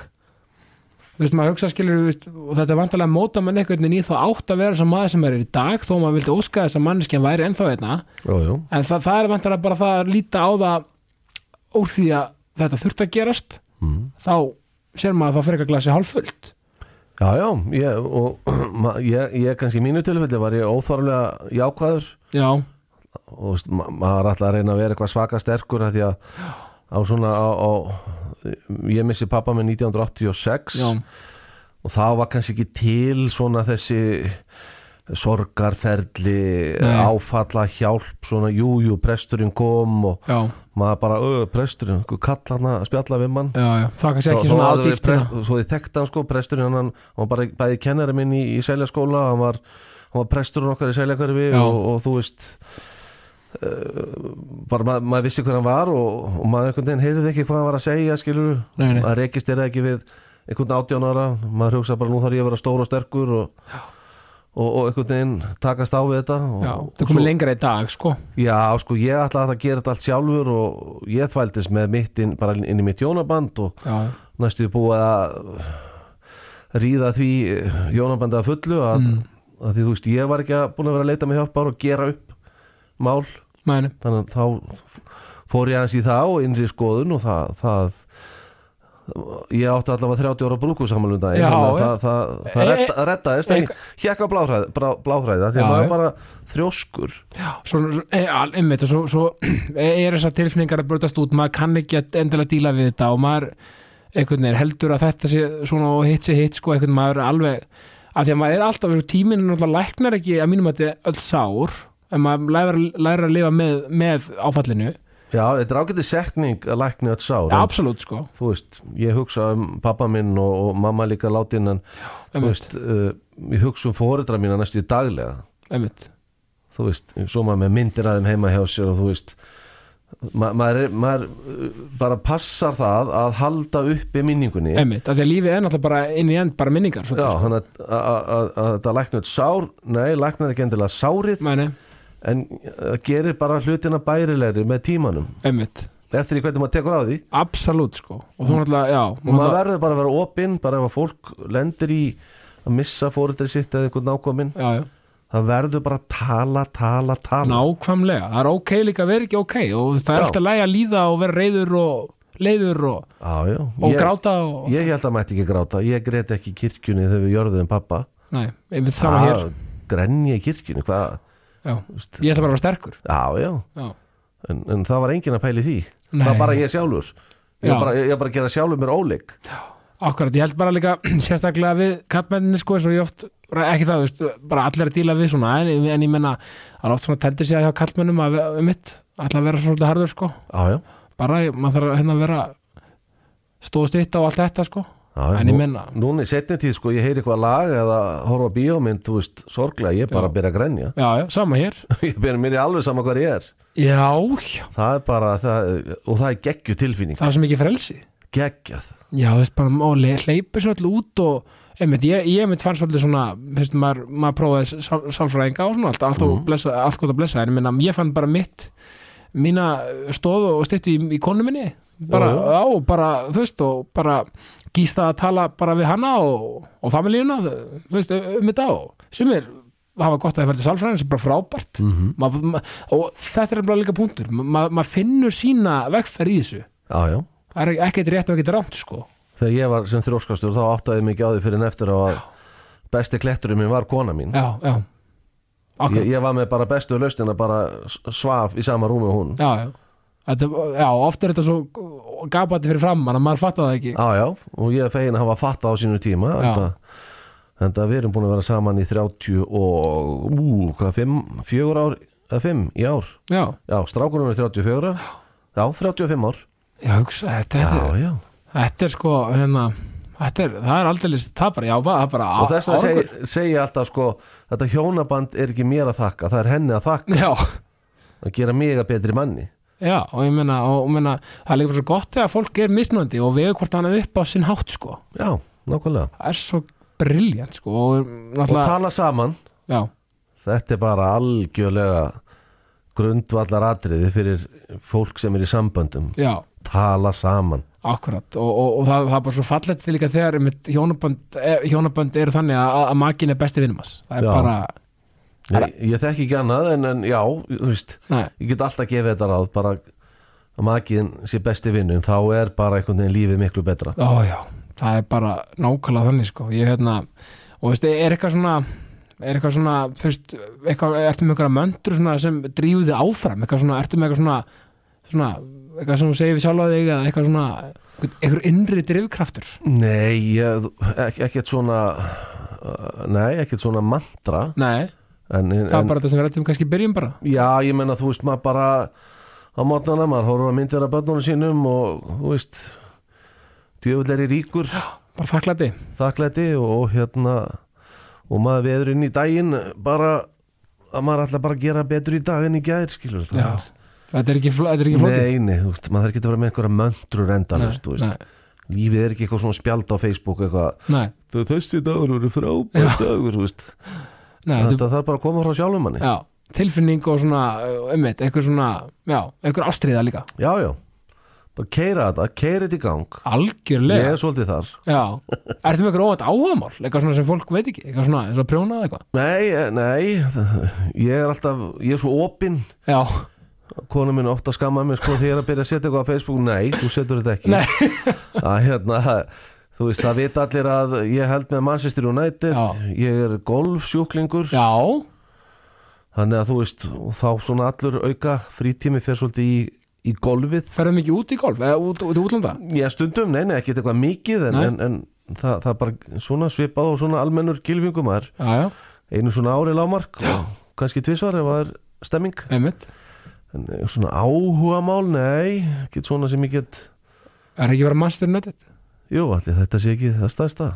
[SPEAKER 1] þú veist maður hugsa skilur veist, og þetta er vantarlega að móta mann einhvern veginn í þá átt að vera sem maður sem er í dag þó maður vildi óska þess að mannskja væri ennþá einna
[SPEAKER 2] jú, jú,
[SPEAKER 1] en það, það er vantarlega bara það að líta á það úr því að þetta þurft að gerast
[SPEAKER 2] mm.
[SPEAKER 1] þá sér maður að það fyrir eitthvað glasi hálffullt
[SPEAKER 2] já, já ég, og ma- ég, ég kannski í mínu tilfelli var ég óþarflega jákvæður
[SPEAKER 1] já,
[SPEAKER 2] og þú veist, ma maður ætla að reyna að vera eitthvað svaka sterkur að því að á svona á, á, ég missi pappa með 1986
[SPEAKER 1] já,
[SPEAKER 2] og þá var kannski ekki til svona þessi sorgarferli
[SPEAKER 1] Nei.
[SPEAKER 2] áfalla hjálp svona jújú, jú, presturinn kom og
[SPEAKER 1] já, maður
[SPEAKER 2] maður bara, öð, presturinn, einhver kall hann að spjalla við mann
[SPEAKER 1] já, já. það er kannski
[SPEAKER 2] Svo-
[SPEAKER 1] ekki
[SPEAKER 2] svo
[SPEAKER 1] svona hérna. á
[SPEAKER 2] hafði við
[SPEAKER 1] dýftina
[SPEAKER 2] pre- svo þið þekkt hann sko, presturinn hann, hann var bara bæði kennari minn í, í seljaskóla hann var, hann var presturinn okkar í seljakverfi
[SPEAKER 1] Já.
[SPEAKER 2] og, og þú veist uh, bara maður, maður vissi hver hann var og, og maður einhvern veginn heyrði ekki hvað hann var að segja skilur,
[SPEAKER 1] Nei, nei.
[SPEAKER 2] maður rekist þeirra ekki við einhvern átján ára, maður hugsa bara nú þarf ég að vera stór og sterkur og, og, og einhvern veginn takast á við þetta og,
[SPEAKER 1] já,
[SPEAKER 2] og
[SPEAKER 1] það
[SPEAKER 2] svo-
[SPEAKER 1] komið lengra í dag sko
[SPEAKER 2] Já, sko, ég ætlaði að gera þetta allt sjálfur og ég þvældist með mitt inn, bara inn í mitt hjónaband og
[SPEAKER 1] já,
[SPEAKER 2] næstu búið að ríða því eh,
[SPEAKER 1] Mm.
[SPEAKER 2] hjónabandi að fullu að, að því þú veist, ég var ekki að búin að vera að leita með hjálpar og gera upp mál
[SPEAKER 1] Mæni.
[SPEAKER 2] þannig að þá fór ég aðeins í það og innri skoðun og það, það ég átti allavega 30 ára brúku samanlum daginn
[SPEAKER 1] Já,
[SPEAKER 2] þannig að
[SPEAKER 1] já.
[SPEAKER 2] það, það, það
[SPEAKER 1] E-
[SPEAKER 2] redd, reddaðist en
[SPEAKER 1] e-
[SPEAKER 2] ég hjekk á bláhræð- brá- bláhræða því
[SPEAKER 1] Já,
[SPEAKER 2] að
[SPEAKER 1] já.
[SPEAKER 2] maður bara þrjóskur
[SPEAKER 1] Svo, svo, e, al- einmitt, og svo, svo er þessar tilfinningar að brotast út maður kann ekki að endilega díla við þetta og maður einhvern veginn heldur að þetta sé svona og hitt sé hitt sko einhvern veginn maður er alveg að því að maður er alltaf þessu tíminn er náttúrulega læknar ekki að mínum að þetta er öll sár en maður læra, læra að lifa með, með áfallinu,
[SPEAKER 2] já, þetta er ágætið sekning að lækni öll sár
[SPEAKER 1] ja,
[SPEAKER 2] en
[SPEAKER 1] absolutt sko
[SPEAKER 2] þú veist, ég hugsa um pappa minn og, og mamma líka látin en þú
[SPEAKER 1] einmitt,
[SPEAKER 2] veist, uh, ég hugsa um fóreldra mína næstu í daglega
[SPEAKER 1] einmitt,
[SPEAKER 2] þú veist, svo maður með myndir aðeim heima hjá sér og þú veist ma maður, er- maður uh, bara passar það að halda uppi minningunni
[SPEAKER 1] einmitt að því að lífið er náttúrulega bara inn í end bara minningar
[SPEAKER 2] já,
[SPEAKER 1] svolítið,
[SPEAKER 2] þannig að- að að- að þetta læknar sár nei, læknar ekki endilega sárið
[SPEAKER 1] sko. Mæni,
[SPEAKER 2] en uh, gerir bara hlutina bærilegri með tímanum
[SPEAKER 1] einmitt,
[SPEAKER 2] eftir í hvernig maður tekur á því
[SPEAKER 1] absolutt sko og þú náttúrulega, já
[SPEAKER 2] Mm. og maður verður bara að vera opinn bara ef að fólk lendir í að missa fóreldri sitt eða einhvern nákominn
[SPEAKER 1] já, já.
[SPEAKER 2] það verður bara að tala, tala, tala
[SPEAKER 1] Nákvæmlega, það er ok líka að vera ekki ok og það er
[SPEAKER 2] Já.
[SPEAKER 1] alltaf læg að líða og vera reyður og leiður og,
[SPEAKER 2] Já, já.
[SPEAKER 1] og
[SPEAKER 2] Ég-
[SPEAKER 1] gráta og
[SPEAKER 2] Ég held að mætti ekki gráta, ég grét ekki í kirkjunni þegar við jörðum pappa
[SPEAKER 1] Nei, ég veit sama hér
[SPEAKER 2] Grenja í kirkjunni, hvað
[SPEAKER 1] já.
[SPEAKER 2] Ah, veist-
[SPEAKER 1] Ég ætla bara að vera sterkur
[SPEAKER 2] Já, já,
[SPEAKER 1] já.
[SPEAKER 2] en, en það var enginn að pæli því
[SPEAKER 1] Nei.
[SPEAKER 2] Það var bara ég sjálfur Ég
[SPEAKER 1] Já.
[SPEAKER 2] var bara, ég var bara að gera sjálfur mér óleik
[SPEAKER 1] Akkurat, ég held bara líka sérstaklega við kattmenninni sko eins og ég oft, ekki það, þú veist, bara allir að díla við svona en, en ég menna, það er oft svona tendir sér hjá kattmennum að við- um mitt ætla að vera svolítið harður sko
[SPEAKER 2] Já, já,
[SPEAKER 1] bara, maður þarf að hérna að vera stóðst ytta og allt þetta sko
[SPEAKER 2] já já.
[SPEAKER 1] En ég
[SPEAKER 2] Nú-
[SPEAKER 1] meina-
[SPEAKER 2] Núna í setni tíð, sko, ég heyri eitthvað lag eða horfa á bíómynd, þú veist, sorglega Ég er bara
[SPEAKER 1] Já.
[SPEAKER 2] að byrja að grenja
[SPEAKER 1] Já, já, sama hér
[SPEAKER 2] Ég byrja mér í alveg sama hvað ég er
[SPEAKER 1] Já, já,
[SPEAKER 2] Það er bara, það, og það er geggju tilfinning
[SPEAKER 1] það er sem ekki frelsi
[SPEAKER 2] Geggjað
[SPEAKER 1] Já, þú veist bara, og le- hleypur svolítið út og, einmitt, ég, ég einmitt fann svolítið svona, þú veist, maður, maður prófaði sál, sálfræðinga og svona allt, allt, mm. blessa, allt gott að blessa, en ég minna, ég fann bara mitt, mína stóð og stytti í, í konu minni, bara,
[SPEAKER 2] Jú, jú.
[SPEAKER 1] já, og bara, þú veist, og bara gíst það að tala bara við hana og, og familíuna, þú þú veist, um þetta og sumir hafa gott að það verði sálfræðin sem bara frábært mm -hmm. ma, ma, og þetta er bara líka punktur, Ma- maður ma finnur sína vegferð í þessu,
[SPEAKER 2] Já, já
[SPEAKER 1] það er ekkert rétt og ekkert rámt, sko.
[SPEAKER 2] þegar ég var sem þróskastur þá áttaði ég mikið á því fyrir en eftir á að besti kletturinn minn var kona mín
[SPEAKER 1] já, já Akkurat,
[SPEAKER 2] Hérna. ég, ég var með bara bestu lausnina bara s- svaf í sama rúmi og hún
[SPEAKER 1] já, já Þetta, já, oft er þetta svo gapandi fyrir framann að maður fattar það ekki
[SPEAKER 2] já já og ég er fegin að hafa fatta á sínu tíma
[SPEAKER 1] Já.
[SPEAKER 2] enda, enda við erum búin að vera saman í 30 og ú, hvað, 5, 4 ár eða 5 í ár
[SPEAKER 1] Já,
[SPEAKER 2] já, strákunum er 34 já, 35 ár
[SPEAKER 1] já, hugsa, þetta,
[SPEAKER 2] já,
[SPEAKER 1] er,
[SPEAKER 2] já.
[SPEAKER 1] þetta er sko hérna, þetta er, það er aldrei það er bara, já, bara, það er bara
[SPEAKER 2] og þess að
[SPEAKER 1] árangur.
[SPEAKER 2] segja, segja alltaf sko þetta hjónaband er ekki mér að þakka það er henni að þakka
[SPEAKER 1] Já,
[SPEAKER 2] að gera mig að betri manni
[SPEAKER 1] já, og ég meina og, og meina, það er líka bara svo gott þegar fólk er mismunandi og vegur hvort hann er upp á sinn hátt sko,
[SPEAKER 2] já, nákvæmlega
[SPEAKER 1] það er svo briljant sko, og
[SPEAKER 2] og
[SPEAKER 1] náttúrulega
[SPEAKER 2] tala saman
[SPEAKER 1] Já,
[SPEAKER 2] þetta er bara algjörlega grundvallar atriði fyrir fólk sem er í samböndum
[SPEAKER 1] já,
[SPEAKER 2] tala saman
[SPEAKER 1] Akkurat og, og, og það, það er bara svo fallegt til líka þegar einmitt hjónabönd, eh, hjónabönd eru þannig að, að makin er besti vinnum hans það er
[SPEAKER 2] Já.
[SPEAKER 1] bara,
[SPEAKER 2] ég, ég þekki ekki annað en, en já, þú veist
[SPEAKER 1] nei,
[SPEAKER 2] ég get alltaf gefið þetta ráð bara að makiðin sé besti vinnun þá er bara einhvern veginn lífið miklu betra
[SPEAKER 1] ó já það er bara nákvæmlega þannig sko ég hérna, og veistu, er eitthvað svona er eitthvað svona, fyrst eitthvað, ertu með einhverja möndur svona sem drífuði áfram, eitthvað svona, ertu með eitthvað svona svona, eitthvað sem þú segir við sjálfa þig eða eitthvað svona, einhver- einhver innri drifkraftur,
[SPEAKER 2] nei, ég, ek, ekkert svona uh, nei, ekkert svona mantra
[SPEAKER 1] nei,
[SPEAKER 2] en, en,
[SPEAKER 1] það er
[SPEAKER 2] en
[SPEAKER 1] bara þetta sem við rættum kannski í byrjun bara,
[SPEAKER 2] já, ég menna þú veist maður bara á mótnana, maður horfa myndir af börnunum sínum og þú veist djöfull er í ríkur
[SPEAKER 1] bara þakklæti
[SPEAKER 2] þakklæti og hérna og maður veður inn í daginn bara að maður ætla bara að gera betur í dag en í gær skilur það
[SPEAKER 1] Já, þetta er ekki, fló- þetta er ekki flókið.
[SPEAKER 2] Nei, nei, þú veist, maður þarf ekki að vera með einhverja möntrur endalust, þú veist,
[SPEAKER 1] nei,
[SPEAKER 2] lífið er ekki eitthvað svona spjald á Facebook eitthvað,
[SPEAKER 1] nei,
[SPEAKER 2] "Þau- þessi dagur eru frábæð dagur, þú veist,
[SPEAKER 1] nei, þetta,
[SPEAKER 2] þetta þarf bara að koma frá sjálfum manni.
[SPEAKER 1] já, uh, tilfinning og svona, einmitt, eitthvað svona, já, eitthvað ástriða líka.
[SPEAKER 2] Já, já, þá keira þetta, keira þetta í gang ég
[SPEAKER 1] algjörlega
[SPEAKER 2] er svolítið þar
[SPEAKER 1] já, ertu með eitthvað óvænt áhugamál eitthvað svona sem fólk veit ekki, eitthvað svona, svona prjónað eitthvað
[SPEAKER 2] nei, eh, nei, ég er alltaf ég er svo opinn,
[SPEAKER 1] já,
[SPEAKER 2] kona minn ofta skamma mig sko þegar ég er að byrja að setja eitthvað á Facebook nei, þú setur þetta ekki
[SPEAKER 1] Nei.
[SPEAKER 2] að hérna Þú veist, það vita allir að ég held með Manchester United,
[SPEAKER 1] Já.
[SPEAKER 2] ég er golfsjúklingur,
[SPEAKER 1] já,
[SPEAKER 2] þannig að þú veist, og þá svona allur auka frítími fer svolítið í, í golfið
[SPEAKER 1] ferðum ekki út í golf eða út, út í útlanda
[SPEAKER 2] Já, stundum, nei, nei, ekkert eitthvað mikið en,
[SPEAKER 1] Nei.
[SPEAKER 2] en, en það, það er bara svona svipað og svona almennur gilfingum er
[SPEAKER 1] já, já,
[SPEAKER 2] einu svona ári lámark og kannski tvisvar ef það er stemming
[SPEAKER 1] einmitt,
[SPEAKER 2] en eh, svona áhugamál, nei ekkert svona sem ég get
[SPEAKER 1] er ekki verið mannstur nöttið
[SPEAKER 2] jú, allir, þetta sé ekki það stærsta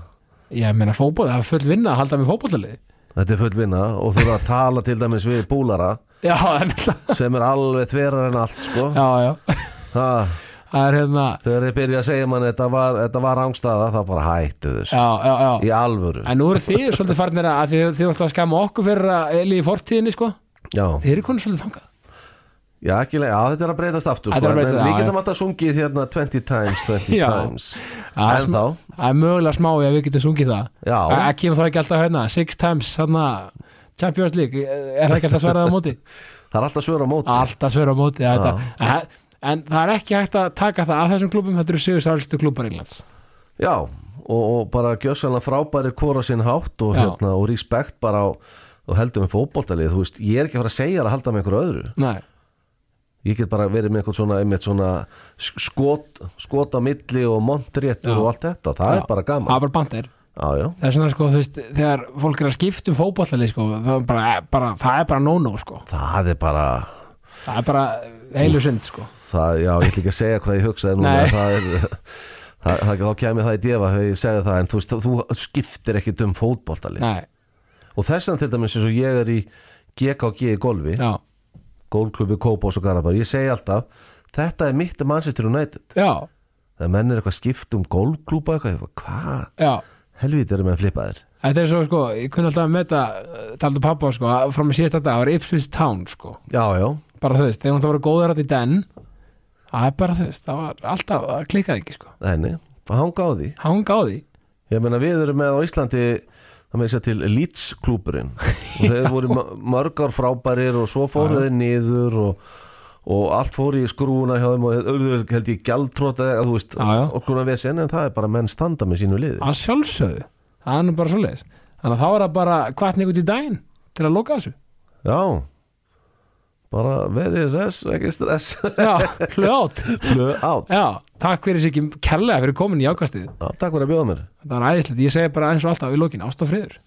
[SPEAKER 1] ég meina fótboll, það er full vinna að halda með fótbollaliði
[SPEAKER 2] þetta er full vinna og þurfa að tala til dæmis við búlara
[SPEAKER 1] já, það er náttúrulega
[SPEAKER 2] sem er alveg þverar en allt sko.
[SPEAKER 1] já, já,
[SPEAKER 2] ha,
[SPEAKER 1] það er hérna
[SPEAKER 2] þegar ég byrja að segja mann þetta var, þetta var rangstaða, þá bara hættu þessu
[SPEAKER 1] já, já, já,
[SPEAKER 2] í alvöru
[SPEAKER 1] en nú eru þið svolítið farnir að að þið, þið voru alltaf að skama okkur fyrir að eli í fortíðinni sko,
[SPEAKER 2] Já.
[SPEAKER 1] þið eru konur svolítið þangað
[SPEAKER 2] Já, ekki leið, já, þetta er að breytast aftur sko,
[SPEAKER 1] Þetta er að breytast,
[SPEAKER 2] en,
[SPEAKER 1] já,
[SPEAKER 2] en Við getum
[SPEAKER 1] já.
[SPEAKER 2] alltaf sungið hérna 20 times, 20
[SPEAKER 1] Já.
[SPEAKER 2] times
[SPEAKER 1] Já, það er
[SPEAKER 2] En
[SPEAKER 1] smá-
[SPEAKER 2] þá,
[SPEAKER 1] það er mögulega smá í að við getum sungið það
[SPEAKER 2] já,
[SPEAKER 1] að kemur það ekki alltaf hérna six times hérna Champions League, eh, er það ekki alltaf sverað á móti
[SPEAKER 2] það er alltaf svör á móti
[SPEAKER 1] alltaf sverað á móti þetta,
[SPEAKER 2] Já.
[SPEAKER 1] en- en það er ekki hægt að taka það að þessum klubum, þetta eru sigur sælstu klubar Englands
[SPEAKER 2] Já, og, og bara gjössalega frábæri hvora sinn hátt og,
[SPEAKER 1] Já.
[SPEAKER 2] hérna, og respekt bara á og heldur með fótboltalið, þú veist, ég er ekki að fara að segja þér að halda með einhverju öðru,
[SPEAKER 1] Nei,
[SPEAKER 2] ég get bara verið með einhvern svona, einmitt svona sk- skot, skot á milli og montréttur
[SPEAKER 1] Já.
[SPEAKER 2] og allt þetta, það
[SPEAKER 1] Já.
[SPEAKER 2] er bara
[SPEAKER 1] það
[SPEAKER 2] gaman
[SPEAKER 1] er bara bandir
[SPEAKER 2] Já, já,
[SPEAKER 1] það er svona sko, þú veist, þegar fólk er að skipta um fótballali sko, það er bara, bara, það er bara no-no sko,
[SPEAKER 2] það er bara
[SPEAKER 1] það er bara heilu synd sko,
[SPEAKER 2] það, já, ég ætla ekki að segja hvað ég hugsaði núna,
[SPEAKER 1] Nei.
[SPEAKER 2] það er það, það, þá kemur það í djefa þegar ég segja það en þú, veist, þú skiptir ekki um fótboltalið
[SPEAKER 1] nei,
[SPEAKER 2] og þessan til dæmis eins og ég er í GKG í golfi,
[SPEAKER 1] já
[SPEAKER 2] gólklubbi Kópás og Garabær, ég segi alltaf þetta er mitt Manchester United
[SPEAKER 1] já,
[SPEAKER 2] það menn er eitthvað skipt um gólklubba eitthvað, ég bara, hvað,
[SPEAKER 1] já
[SPEAKER 2] helvítið eru með að flippa þér
[SPEAKER 1] Þetta er svo sko, ég kunni alltaf að meta taldu pappa sko, að frá með síðast þetta það var Ipswich Town sko
[SPEAKER 2] já, já,
[SPEAKER 1] bara þú veist, þegar hún það voru góður átt í den það er bara þú veist, það var alltaf það klikkaði ekki sko,
[SPEAKER 2] þenni, hanga á því
[SPEAKER 1] hann gáði
[SPEAKER 2] ég meina við erum með á Íslandi það með þess að til Leeds klúburinn og þeir voru ma- mörg ár frábærir og svo fóru þeir niður og, og allt fóru í skrúuna hjá þeim og auðvitað held ég gjaldtróta eða þú veist,
[SPEAKER 1] Já, já.
[SPEAKER 2] okkurna vesen en það er bara menn standa með sínu liði
[SPEAKER 1] að sjálfsögðu, það er nú bara svoleiðis þannig að þá er það bara kvartning út í daginn til að loka þessu
[SPEAKER 2] já bara verið res, ekki stress
[SPEAKER 1] já, hljótt,
[SPEAKER 2] flöð átt
[SPEAKER 1] já, takk fyrir sig kærlega fyrir komin í ákastið
[SPEAKER 2] Já, takk fyrir að bjóða mér
[SPEAKER 1] þetta var æðislegt, ég segi bara eins og alltaf í lokin, ást og friður